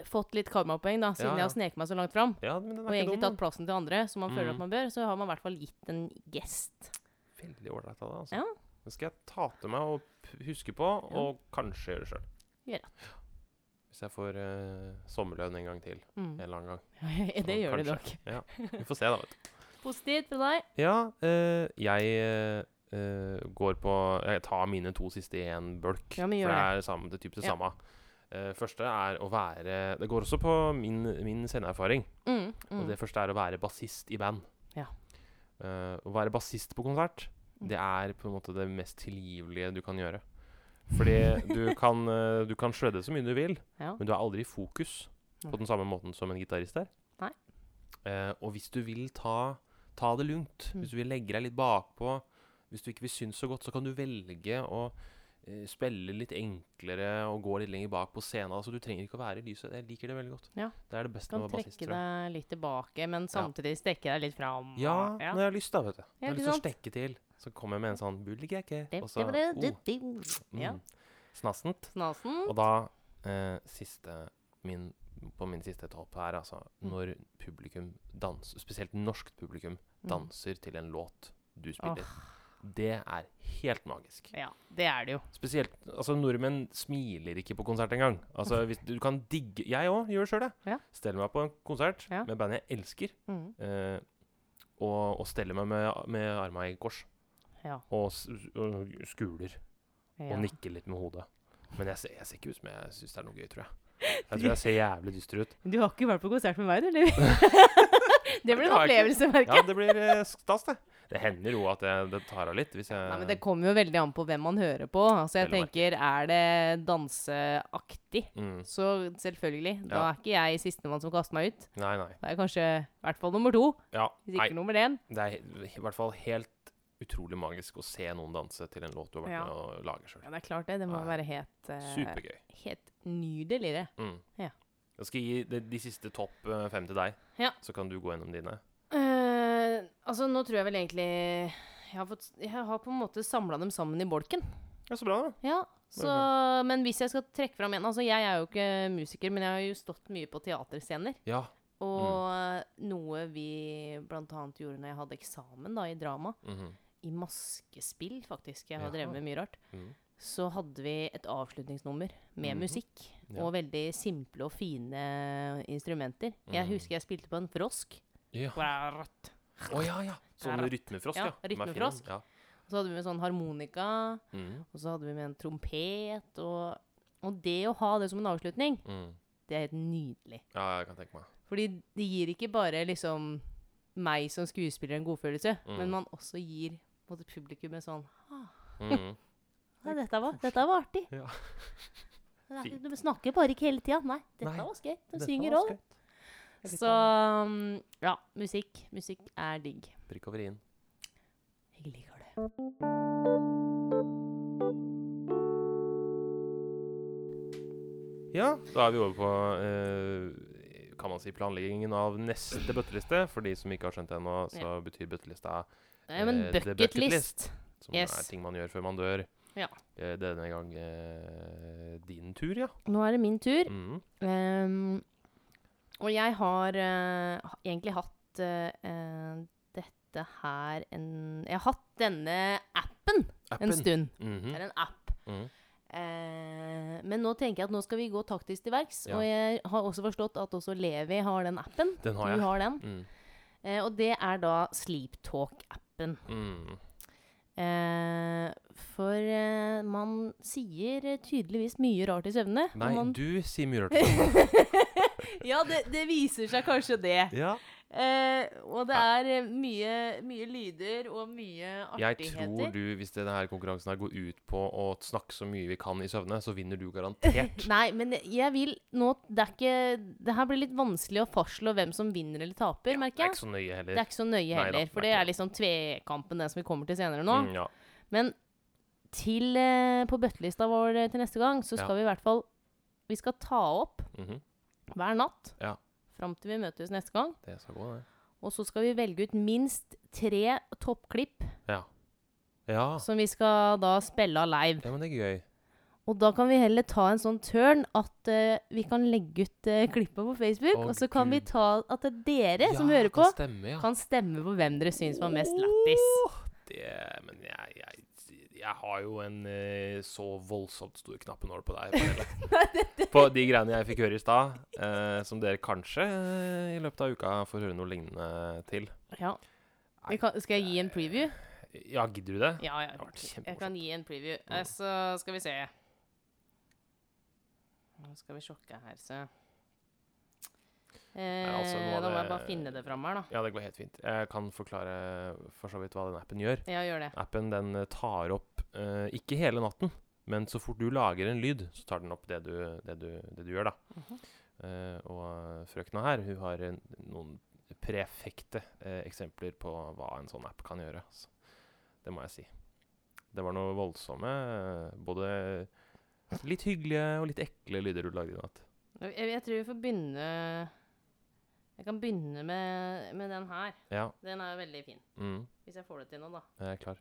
Speaker 1: fått litt karmapoeng, da, siden jeg
Speaker 2: Ja, ja.
Speaker 1: har sneket meg så langt fram.
Speaker 2: Ja, men den
Speaker 1: Og
Speaker 2: er
Speaker 1: egentlig
Speaker 2: ikke dum.
Speaker 1: tatt plassen til andre, som man føler
Speaker 2: Mm.
Speaker 1: at man bør. Så har man i hvert fall gitt en gest.
Speaker 2: da. Veldig ålreit av deg, altså.
Speaker 1: Ja.
Speaker 2: Det skal jeg ta til meg og p- huske på,
Speaker 1: Ja.
Speaker 2: og kanskje gjøre sjøl.
Speaker 1: Gjør
Speaker 2: Hvis jeg får eh, sommerlønn en gang til. En
Speaker 1: Mm.
Speaker 2: eller annen gang.
Speaker 1: det gjør de nok.
Speaker 2: kanskje. Vi får se, da. vet du.
Speaker 1: Positivt fra deg.
Speaker 2: Ja, eh, jeg eh, eh, går på Jeg tar mine to siste i én bulk.
Speaker 1: Ja, men gjør
Speaker 2: for det er samme, det er typisk det
Speaker 1: Ja.
Speaker 2: samme. Eh, første er å være Det går også på min, min sceneerfaring.
Speaker 1: Mm. Mm.
Speaker 2: Og det første er å være bassist i band.
Speaker 1: Ja. Mm.
Speaker 2: Eh, å være bassist på konsert, det er på en måte det mest tilgivelige du kan gjøre. Fordi du kan, eh, du kan shredde så mye du vil,
Speaker 1: Ja.
Speaker 2: men du er aldri i fokus på
Speaker 1: Nei.
Speaker 2: den samme måten som en gitarist er.
Speaker 1: Nei.
Speaker 2: Eh, og hvis du vil ta, ta det lugnt,
Speaker 1: Mm.
Speaker 2: hvis du vil legge deg litt bakpå, hvis du ikke vil synes så godt, så kan du velge å eh, spille litt enklere og gå litt lenger bak på scenen. Altså, du trenger ikke å være i lyset. Jeg liker det veldig godt.
Speaker 1: Ja.
Speaker 2: Det er det beste
Speaker 1: Kan
Speaker 2: med å være bassist.
Speaker 1: trekke
Speaker 2: tror jeg.
Speaker 1: deg litt tilbake, men samtidig strekke deg litt fram.
Speaker 2: Ja,
Speaker 1: og- ja.
Speaker 2: når jeg har lyst, da, vet du. Når jeg har
Speaker 1: ikke
Speaker 2: lyst til å
Speaker 1: sant?
Speaker 2: stekke til, så kommer jeg med en sånn bullegekke,
Speaker 1: Det-
Speaker 2: og
Speaker 1: det
Speaker 2: så
Speaker 1: var
Speaker 2: oh,
Speaker 1: det- det- det- Ja.
Speaker 2: mm, snassent.
Speaker 1: Snasen.
Speaker 2: Og da eh, siste min, På min siste topp her, altså
Speaker 1: Mm.
Speaker 2: Når publikum danser, spesielt norsk publikum,
Speaker 1: Mm.
Speaker 2: danser til en låt du spiller. Det er helt magisk.
Speaker 1: Mm. Ja, det er det jo.
Speaker 2: Spesielt Altså, nordmenn smiler ikke på konsert engang. Altså, hvis du kan digge Jeg òg gjør sjøl det.
Speaker 1: Ja.
Speaker 2: Steller meg på en konsert
Speaker 1: Ja.
Speaker 2: med band jeg elsker,
Speaker 1: Mm.
Speaker 2: eh, og, og steller meg med, med arma i kors.
Speaker 1: Ja.
Speaker 2: og, s- og skuler
Speaker 1: ja.
Speaker 2: og nikker litt med hodet. Men jeg ser, jeg ser ikke ut som jeg syns det er noe gøy, tror jeg. Jeg tror jeg ser jævlig dyster ut.
Speaker 1: Du har ikke vært på konsert med meg, du, eller? det blir
Speaker 2: Det
Speaker 1: en
Speaker 2: har jeg
Speaker 1: opplevelse, merker
Speaker 2: Ja,
Speaker 1: jeg.
Speaker 2: det blir eh, stas, det. Det hender jo at det, det tar av litt hvis jeg
Speaker 1: Nei, men Det kommer jo veldig an på hvem man hører på. Altså, jeg
Speaker 2: Veldig
Speaker 1: tenker, Er det danseaktig,
Speaker 2: mm.
Speaker 1: så selvfølgelig. Da
Speaker 2: Ja.
Speaker 1: er ikke jeg sistemann som kaster meg ut.
Speaker 2: Nei, nei.
Speaker 1: Da er jeg kanskje i hvert fall nummer to,
Speaker 2: Ja,
Speaker 1: hvis
Speaker 2: nei.
Speaker 1: ikke nummer én.
Speaker 2: Det er he- i hvert fall helt utrolig magisk å se noen danse til en låt du har vært
Speaker 1: Ja.
Speaker 2: med å lage sjøl.
Speaker 1: Ja, det er klart det. Det må
Speaker 2: Nei.
Speaker 1: være helt, eh,
Speaker 2: Supergøy.
Speaker 1: helt nydelig, det.
Speaker 2: Mm.
Speaker 1: Ja.
Speaker 2: Jeg skal gi de, de siste topp eh, fem til deg,
Speaker 1: Ja.
Speaker 2: så kan du gå gjennom dine.
Speaker 1: Eh, altså, nå tror jeg vel egentlig Jeg har, fått, jeg har på en måte samla dem sammen i bolken. sånn.
Speaker 2: Ja, Så bra, da.
Speaker 1: Ja,
Speaker 2: Det er
Speaker 1: så, men hvis jeg skal trekke fram en Altså, jeg er jo ikke musiker, men jeg har jo stått mye på teaterscener.
Speaker 2: Ja,
Speaker 1: Og
Speaker 2: Mm.
Speaker 1: noe vi bl.a. gjorde når jeg hadde eksamen da, i drama,
Speaker 2: Mhm.
Speaker 1: i maskespill faktisk, jeg har
Speaker 2: Jaha.
Speaker 1: drevet med mye rart,
Speaker 2: Mhm.
Speaker 1: så hadde vi et avslutningsnummer med
Speaker 2: Mhm.
Speaker 1: musikk.
Speaker 2: Ja.
Speaker 1: Og veldig simple og fine instrumenter. Jeg
Speaker 2: Mhm.
Speaker 1: husker jeg spilte på en frosk.
Speaker 2: Ja. Å ja, ja. Sånn
Speaker 1: Karat.
Speaker 2: rytmefrosk,
Speaker 1: Ja,
Speaker 2: ja. De er fine.
Speaker 1: rytmefrosk.
Speaker 2: Ja.
Speaker 1: Og så hadde vi med sånn harmonika,
Speaker 2: Mhm.
Speaker 1: og så hadde vi med en trompet. Og, og det å ha det som en avslutning,
Speaker 2: Mhm.
Speaker 1: det er helt nydelig.
Speaker 2: ja, jeg kan tenke meg.
Speaker 1: Fordi det gir ikke bare liksom meg som skuespiller en godfølelse,
Speaker 2: Mm.
Speaker 1: men man også gir på en måte publikum en sånn
Speaker 2: Mhm.
Speaker 1: Ja, dette var, dette var artig.
Speaker 2: Ja.
Speaker 1: Det er ikke-
Speaker 2: Fint.
Speaker 1: De snakker bare ikke hele tida. Nei, dette
Speaker 2: Nei,
Speaker 1: var skøy. De
Speaker 2: Dette
Speaker 1: synger
Speaker 2: var
Speaker 1: òg.
Speaker 2: skøyt.
Speaker 1: Så um, ja, musikk. Musikk er digg.
Speaker 2: Prikk over i-en.
Speaker 1: Jeg liker det.
Speaker 2: Ja, da er vi over på eh, kan man si planleggingen av neste bøtteliste. For de som ikke har skjønt det ennå, så betyr bøttelista
Speaker 1: Nei, men
Speaker 2: Eh, the bucket
Speaker 1: bucketlist.
Speaker 2: som
Speaker 1: Yes.
Speaker 2: er ting man gjør før man dør.
Speaker 1: Ja.
Speaker 2: Eh, denne gang eh, din tur, ja.
Speaker 1: Nå er det min tur.
Speaker 2: Mhm.
Speaker 1: Um, og jeg har eh, ha- egentlig hatt eh, eh, dette her en Jeg har hatt denne appen en stund.
Speaker 2: Mhm.
Speaker 1: Det er en app.
Speaker 2: Mhm.
Speaker 1: Eh, men nå tenker jeg at nå skal vi gå taktisk til verks.
Speaker 2: Ja.
Speaker 1: Og jeg har også forstått at også Levi har den appen.
Speaker 2: Den har
Speaker 1: Du
Speaker 2: jeg.
Speaker 1: har den.
Speaker 2: Mhm.
Speaker 1: Eh, og det er da Sleeptalk-appen.
Speaker 2: Mhm.
Speaker 1: Eh, for eh, man sier eh, tydeligvis mye rart i søvne. og
Speaker 2: Nei,
Speaker 1: man
Speaker 2: du sier mye rart. til meg.
Speaker 1: Ja, det, det viser seg kanskje det.
Speaker 2: ja.
Speaker 1: Eh, og det er eh, mye, mye lyder og mye
Speaker 2: Jeg
Speaker 1: artigheter.
Speaker 2: tror du, hvis denne her konkurransen her går ut på å snakke så mye vi kan i søvne, så vinner du garantert.
Speaker 1: Nei, men jeg vil nå Det er ikke Det her blir litt vanskelig å fastslå hvem som vinner eller taper,
Speaker 2: Det
Speaker 1: merker
Speaker 2: er
Speaker 1: jeg.
Speaker 2: ikke så nøye heller.
Speaker 1: Det er ikke så nøye
Speaker 2: Neida,
Speaker 1: heller, for
Speaker 2: det
Speaker 1: det
Speaker 2: er
Speaker 1: er liksom tvekampen, den som vi kommer til senere sånn nå.
Speaker 2: Mm, ja.
Speaker 1: Men til eh, på bøttelista vår eh, til neste gang, så
Speaker 2: Ja.
Speaker 1: skal vi i hvert fall Vi skal ta opp
Speaker 2: Mhm.
Speaker 1: hver natt
Speaker 2: Ja.
Speaker 1: fram til vi møtes neste gang.
Speaker 2: Det skal gå, det.
Speaker 1: Og så skal vi velge ut minst tre toppklipp
Speaker 2: Ja.
Speaker 1: som vi skal da spille av live.
Speaker 2: ja, men det er gøy.
Speaker 1: Og da kan vi heller ta en sånn turn at eh, vi kan legge ut uh, klippet på Facebook,
Speaker 2: Å,
Speaker 1: og så kan vi
Speaker 2: Gud.
Speaker 1: ta at det er dere som
Speaker 2: Ja,
Speaker 1: hører
Speaker 2: kan
Speaker 1: på,
Speaker 2: Stemme, ja.
Speaker 1: kan stemme på hvem dere syns var mest lættis.
Speaker 2: Det, men jeg, jeg, jeg har jo en eh, så voldsomt stor knappenål på deg. Pernille. På de greiene jeg fikk høre i stad, eh, som dere kanskje eh, i løpet av uka får høre noe lignende til.
Speaker 1: Ja. Vi kan, skal jeg gi en preview?
Speaker 2: Ja, gidder du det?
Speaker 1: Ja, ja.
Speaker 2: Det har vært
Speaker 1: Jeg kan gi en preview. Eh, Så skal vi se. Nå skal vi sjokke her, så eh,
Speaker 2: altså, nå er
Speaker 1: Da må jeg
Speaker 2: det-
Speaker 1: bare finne det fram her, da.
Speaker 2: Ja, det går helt fint. Jeg kan forklare for så vidt hva den appen gjør.
Speaker 1: Ja, gjør det.
Speaker 2: Appen den eh, tar opp eh, ikke hele natten, men så fort du lager en lyd, så tar den opp det du, det du, det du gjør, da.
Speaker 1: Mhm.
Speaker 2: Eh, og frøkna her, hun har en, noen prefekte eh, eksempler på hva en sånn app kan gjøre. Altså. Det må jeg si. Det var noe voldsomme, eh, både litt hyggelige og litt ekle lyder du lagde i natt.
Speaker 1: Jeg, jeg tror vi får begynne Jeg kan begynne med, med den her.
Speaker 2: Ja,
Speaker 1: Den er veldig fin.
Speaker 2: mm,
Speaker 1: Hvis jeg får det til nå, da.
Speaker 2: jeg er klar.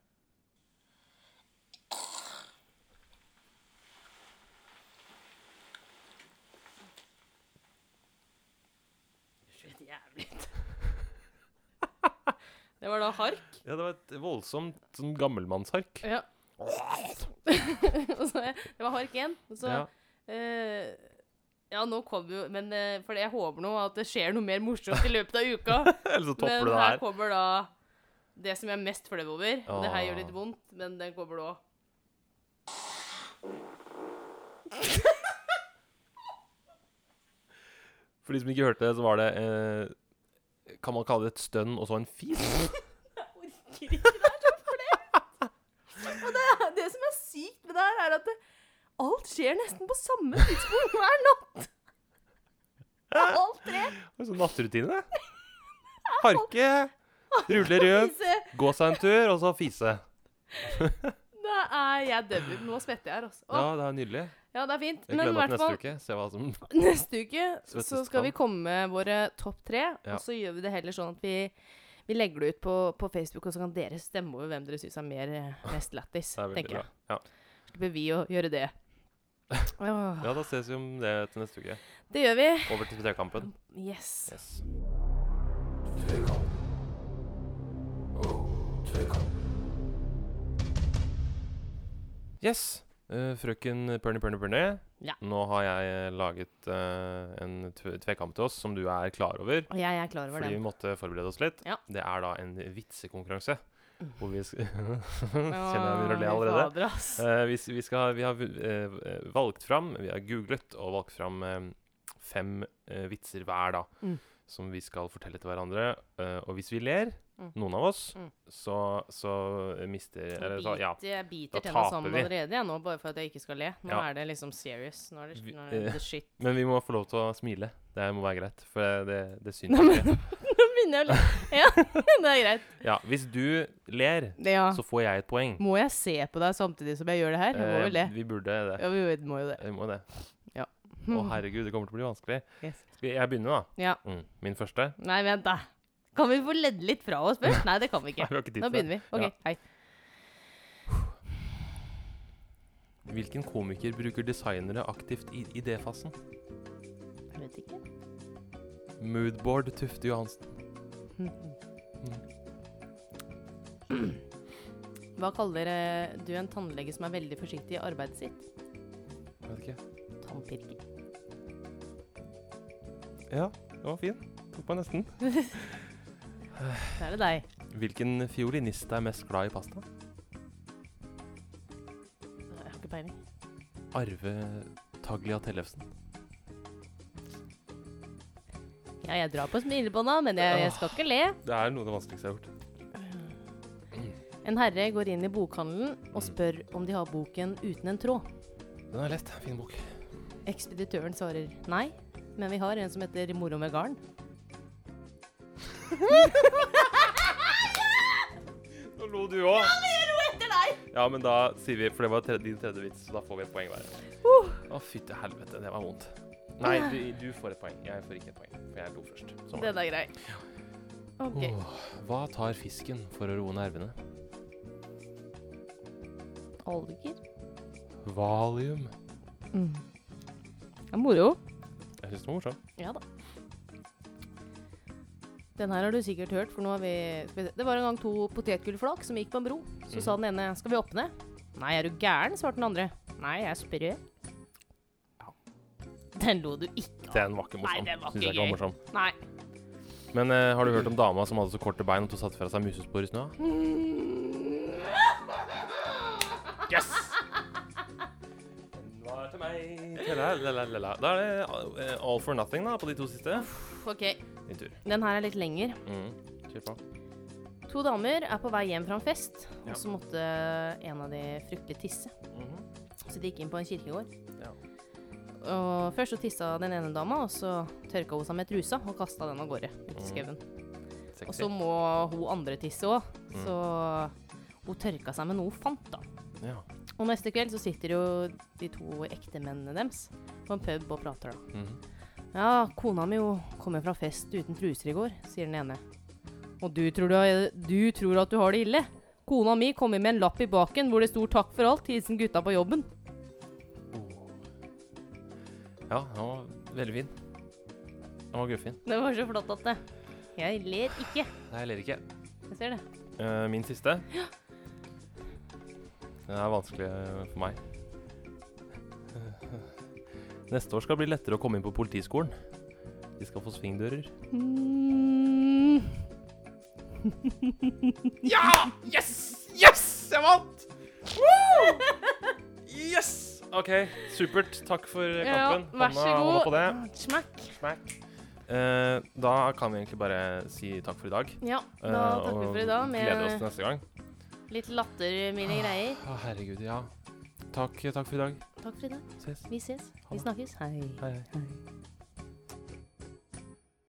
Speaker 1: Det ser helt jævlig ut. Det var da hark.
Speaker 2: Ja, det var et voldsomt sånn gammelmannshark.
Speaker 1: Ja. Og så- det var hark igjen. Og så
Speaker 2: ja.
Speaker 1: Eh, ja, nå kom jo Men eh, for jeg håper nå at det skjer noe mer morsomt i løpet av uka.
Speaker 2: Eller så topper
Speaker 1: men
Speaker 2: du det
Speaker 1: her
Speaker 2: her.
Speaker 1: kommer da det som jeg er mest flau over. Og det her gjør litt
Speaker 2: Åh.
Speaker 1: vondt, men den kommer nå.
Speaker 2: For de som ikke hørte det, så var det eh, Kan man kalle det et stønn og så en fis?
Speaker 1: Jeg orker ikke det her for det. Og det, er- det som er sykt med det her, er at det, alt skjer nesten på samme tidspunkt hver natt. Alt tre.
Speaker 2: Og så nattrutine. Harke, rulle rød,
Speaker 1: Fise.
Speaker 2: Gå seg en tur, og så fise.
Speaker 1: Det er Jeg dømmer. Nå svetter jeg her, altså.
Speaker 2: Ja,
Speaker 1: Å,
Speaker 2: det er nydelig.
Speaker 1: ja, det er fint.
Speaker 2: Jeg
Speaker 1: Men i
Speaker 2: gleder meg
Speaker 1: hvert
Speaker 2: til neste
Speaker 1: fall
Speaker 2: uke. Se hva som
Speaker 1: Neste uke så
Speaker 2: Svettest
Speaker 1: skal vi
Speaker 2: kan.
Speaker 1: komme med våre topp tre.
Speaker 2: Ja.
Speaker 1: Og så gjør vi det heller sånn at vi, vi legger det ut på, på Facebook, og så kan dere stemme over hvem dere syns er mer eh, mest lættis.
Speaker 2: Det er veldig
Speaker 1: tenker
Speaker 2: bra.
Speaker 1: jeg.
Speaker 2: Ja.
Speaker 1: Slipper vi å gjøre det. Åh,
Speaker 2: Ja, da ses vi om det til neste uke.
Speaker 1: Det gjør vi.
Speaker 2: Over til tøykampen.
Speaker 1: Yes.
Speaker 2: Yes. Yes. eh, frøken Pørne Pørne Pørne.
Speaker 1: Ja.
Speaker 2: Nå har jeg eh, laget eh, en tve- tvekamp til oss som du er klar over.
Speaker 1: Og jeg er klar over
Speaker 2: Fordi vi
Speaker 1: den.
Speaker 2: måtte forberede oss litt.
Speaker 1: Ja.
Speaker 2: Det er da en vitsekonkurranse. Hvor vi skal
Speaker 1: Åh,
Speaker 2: Kjenner jeg begynner å le allerede.
Speaker 1: fader, ass.
Speaker 2: Eh, vi, s- vi, skal, vi har vu- eh, eh, valgt fram, vi har googlet og valgt fram eh, fem eh, vitser hver, da.
Speaker 1: Mm.
Speaker 2: Som vi skal fortelle til hverandre. Eh, og hvis vi ler,
Speaker 1: Mm.
Speaker 2: noen av oss,
Speaker 1: Mm.
Speaker 2: så, så mister
Speaker 1: Jeg
Speaker 2: Eller da, ja.
Speaker 1: biter, jeg
Speaker 2: da
Speaker 1: biter tenna
Speaker 2: taper
Speaker 1: sammen
Speaker 2: vi.
Speaker 1: allerede jeg, nå, bare for at jeg ikke skal le. Nå
Speaker 2: Ja.
Speaker 1: er det liksom serious. Nå er det,
Speaker 2: Vi-
Speaker 1: nå er det
Speaker 2: eh,
Speaker 1: the shit.
Speaker 2: Men vi må få lov til å smile. Det må være greit. For det, det syns
Speaker 1: Nå
Speaker 2: ikke.
Speaker 1: begynner jeg å le. Ja, det er greit.
Speaker 2: Ja, hvis du ler,
Speaker 1: Ja.
Speaker 2: så får jeg et poeng.
Speaker 1: Må jeg se på deg samtidig som jeg gjør det her? Jeg må jo
Speaker 2: Eh,
Speaker 1: le.
Speaker 2: vi burde det.
Speaker 1: Ja, Mm. vi må jo det.
Speaker 2: Vi må det.
Speaker 1: Ja.
Speaker 2: Å, herregud, det kommer til å bli vanskelig.
Speaker 1: Yes.
Speaker 2: Skal jeg begynne, da?
Speaker 1: Ja.
Speaker 2: Mm. Min første?
Speaker 1: Nei, vent, da. Kan vi få ledd litt fra oss først? Nei, det kan vi
Speaker 2: Nei,
Speaker 1: ikke.
Speaker 2: vi har ikke tid
Speaker 1: Nå
Speaker 2: til det.
Speaker 1: begynner vi. OK,
Speaker 2: Ja.
Speaker 1: hei.
Speaker 2: Hvilken komiker bruker designere aktivt i idéfasen?
Speaker 1: Jeg vet ikke.
Speaker 2: Moodboard Tufte Johansen. Mm.
Speaker 1: Hva kaller eh, du en tannlege som er veldig forsiktig i arbeidet sitt?
Speaker 2: Vet ikke.
Speaker 1: Tannpirker.
Speaker 2: Ja, det var fin. Tok meg nesten.
Speaker 1: Der er det deg.
Speaker 2: Hvilken fiolinist er mest glad i pasta?
Speaker 1: Jeg har ikke peiling.
Speaker 2: Arve Taglia Tellefsen.
Speaker 1: Ja, jeg drar på smilebånda, men jeg, jeg skal ikke le.
Speaker 2: Det er noe av det vanskeligste jeg har gjort.
Speaker 1: En herre går inn i bokhandelen og spør om de har boken uten en tråd.
Speaker 2: Den er lett. Fin bok.
Speaker 1: Ekspeditøren svarer nei, men vi har en som heter Moro med garn.
Speaker 2: Nå lo du òg.
Speaker 1: Jeg ro etter deg!
Speaker 2: Ja, men da sier vi, for det var tredje, din tredje vits, så da får vi et poeng hver. Å, fytti helvete, det var vondt. Nei, du, du får et poeng. Jeg får ikke et poeng, for jeg lo først. Sånn var det.
Speaker 1: Den er grei. OK.
Speaker 2: Åh, hva tar fisken for å roe nervene?
Speaker 1: Alger.
Speaker 2: Valium.
Speaker 1: Det er moro.
Speaker 2: Jeg syns det var morsomt.
Speaker 1: Ja da. Den her har du sikkert hørt, for nå har vi skal vi se. Det var en gang to potetgullflak som gikk på en bro. Så sa den ene 'Skal vi åpne?' 'Nei, er du gæren?' svarte den andre. 'Nei, jeg er sprø'. Den lo du ikke av.
Speaker 2: Den var ikke
Speaker 1: Nei,
Speaker 2: morsom.
Speaker 1: den var
Speaker 2: Synes
Speaker 1: ikke
Speaker 2: jeg ikke
Speaker 1: gøy.
Speaker 2: var morsom.
Speaker 1: Nei.
Speaker 2: Men eh, har du hørt om dama som hadde så korte bein at hun satte fra seg musespor i snøa?
Speaker 1: Mm.
Speaker 2: Yes! Den var til meg. Tra-la-la-la-la. Da er det eh, all for nothing da, på de to siste.
Speaker 1: OK.
Speaker 2: Din tur.
Speaker 1: Den her er litt lenger.
Speaker 2: Mm. Kjør på.
Speaker 1: To damer er på vei hjem fra en fest,
Speaker 2: Ja.
Speaker 1: og så måtte en av de fryktelig tisse.
Speaker 2: Mhm.
Speaker 1: Så de gikk inn på en kirkegård.
Speaker 2: Ja.
Speaker 1: Og først så tissa den ene dama, og så tørka hun seg med trusa og kasta den av gårde ut
Speaker 2: Mm,
Speaker 1: i skauen. Og
Speaker 2: Sexy.
Speaker 1: så må hun andre tisse òg, så hun tørka seg med noe hun fant, da.
Speaker 2: Ja.
Speaker 1: Og neste kveld så sitter jo de to ektemennene deres på en pub og prater, da.
Speaker 2: Mhm.
Speaker 1: Ja, kona mi jo kommer fra fest uten truser i går, sier den ene. Og du tror, du, har, du tror at du har det ille? Kona mi kom inn med en lapp i baken hvor det sto 'takk for alt', hilsen gutta på jobben.
Speaker 2: Oh. ja, den var veldig fin. Den var guffin.
Speaker 1: Det var så flott at det Jeg ler ikke.
Speaker 2: Nei, jeg ler ikke.
Speaker 1: Jeg ser det.
Speaker 2: Eh, min siste. Den er vanskelig eh, for meg. Neste år skal det bli lettere å komme inn på politiskolen. De skal få svingdører.
Speaker 1: Mm.
Speaker 2: Ja! Yes! Yes! Jeg vant! Yes! OK, supert. Takk for eh,
Speaker 1: Ja,
Speaker 2: kampen.
Speaker 1: vær så
Speaker 2: Hånda-
Speaker 1: god.
Speaker 2: hånda på det.
Speaker 1: Smack.
Speaker 2: Smack. Eh, da kan vi egentlig bare si takk for i dag.
Speaker 1: Ja,
Speaker 2: Eh,
Speaker 1: da takker vi
Speaker 2: og
Speaker 1: for i dag
Speaker 2: Gleder oss til
Speaker 1: med
Speaker 2: neste gang.
Speaker 1: litt latter, mine greier.
Speaker 2: Å, herregud, ja. Takk, takk for i dag.
Speaker 1: Takk for i dag.
Speaker 2: Ses.
Speaker 1: Vi ses.
Speaker 2: Ha
Speaker 1: Vi
Speaker 2: det.
Speaker 1: snakkes. Hei.
Speaker 2: Hei, hei.
Speaker 1: Hei.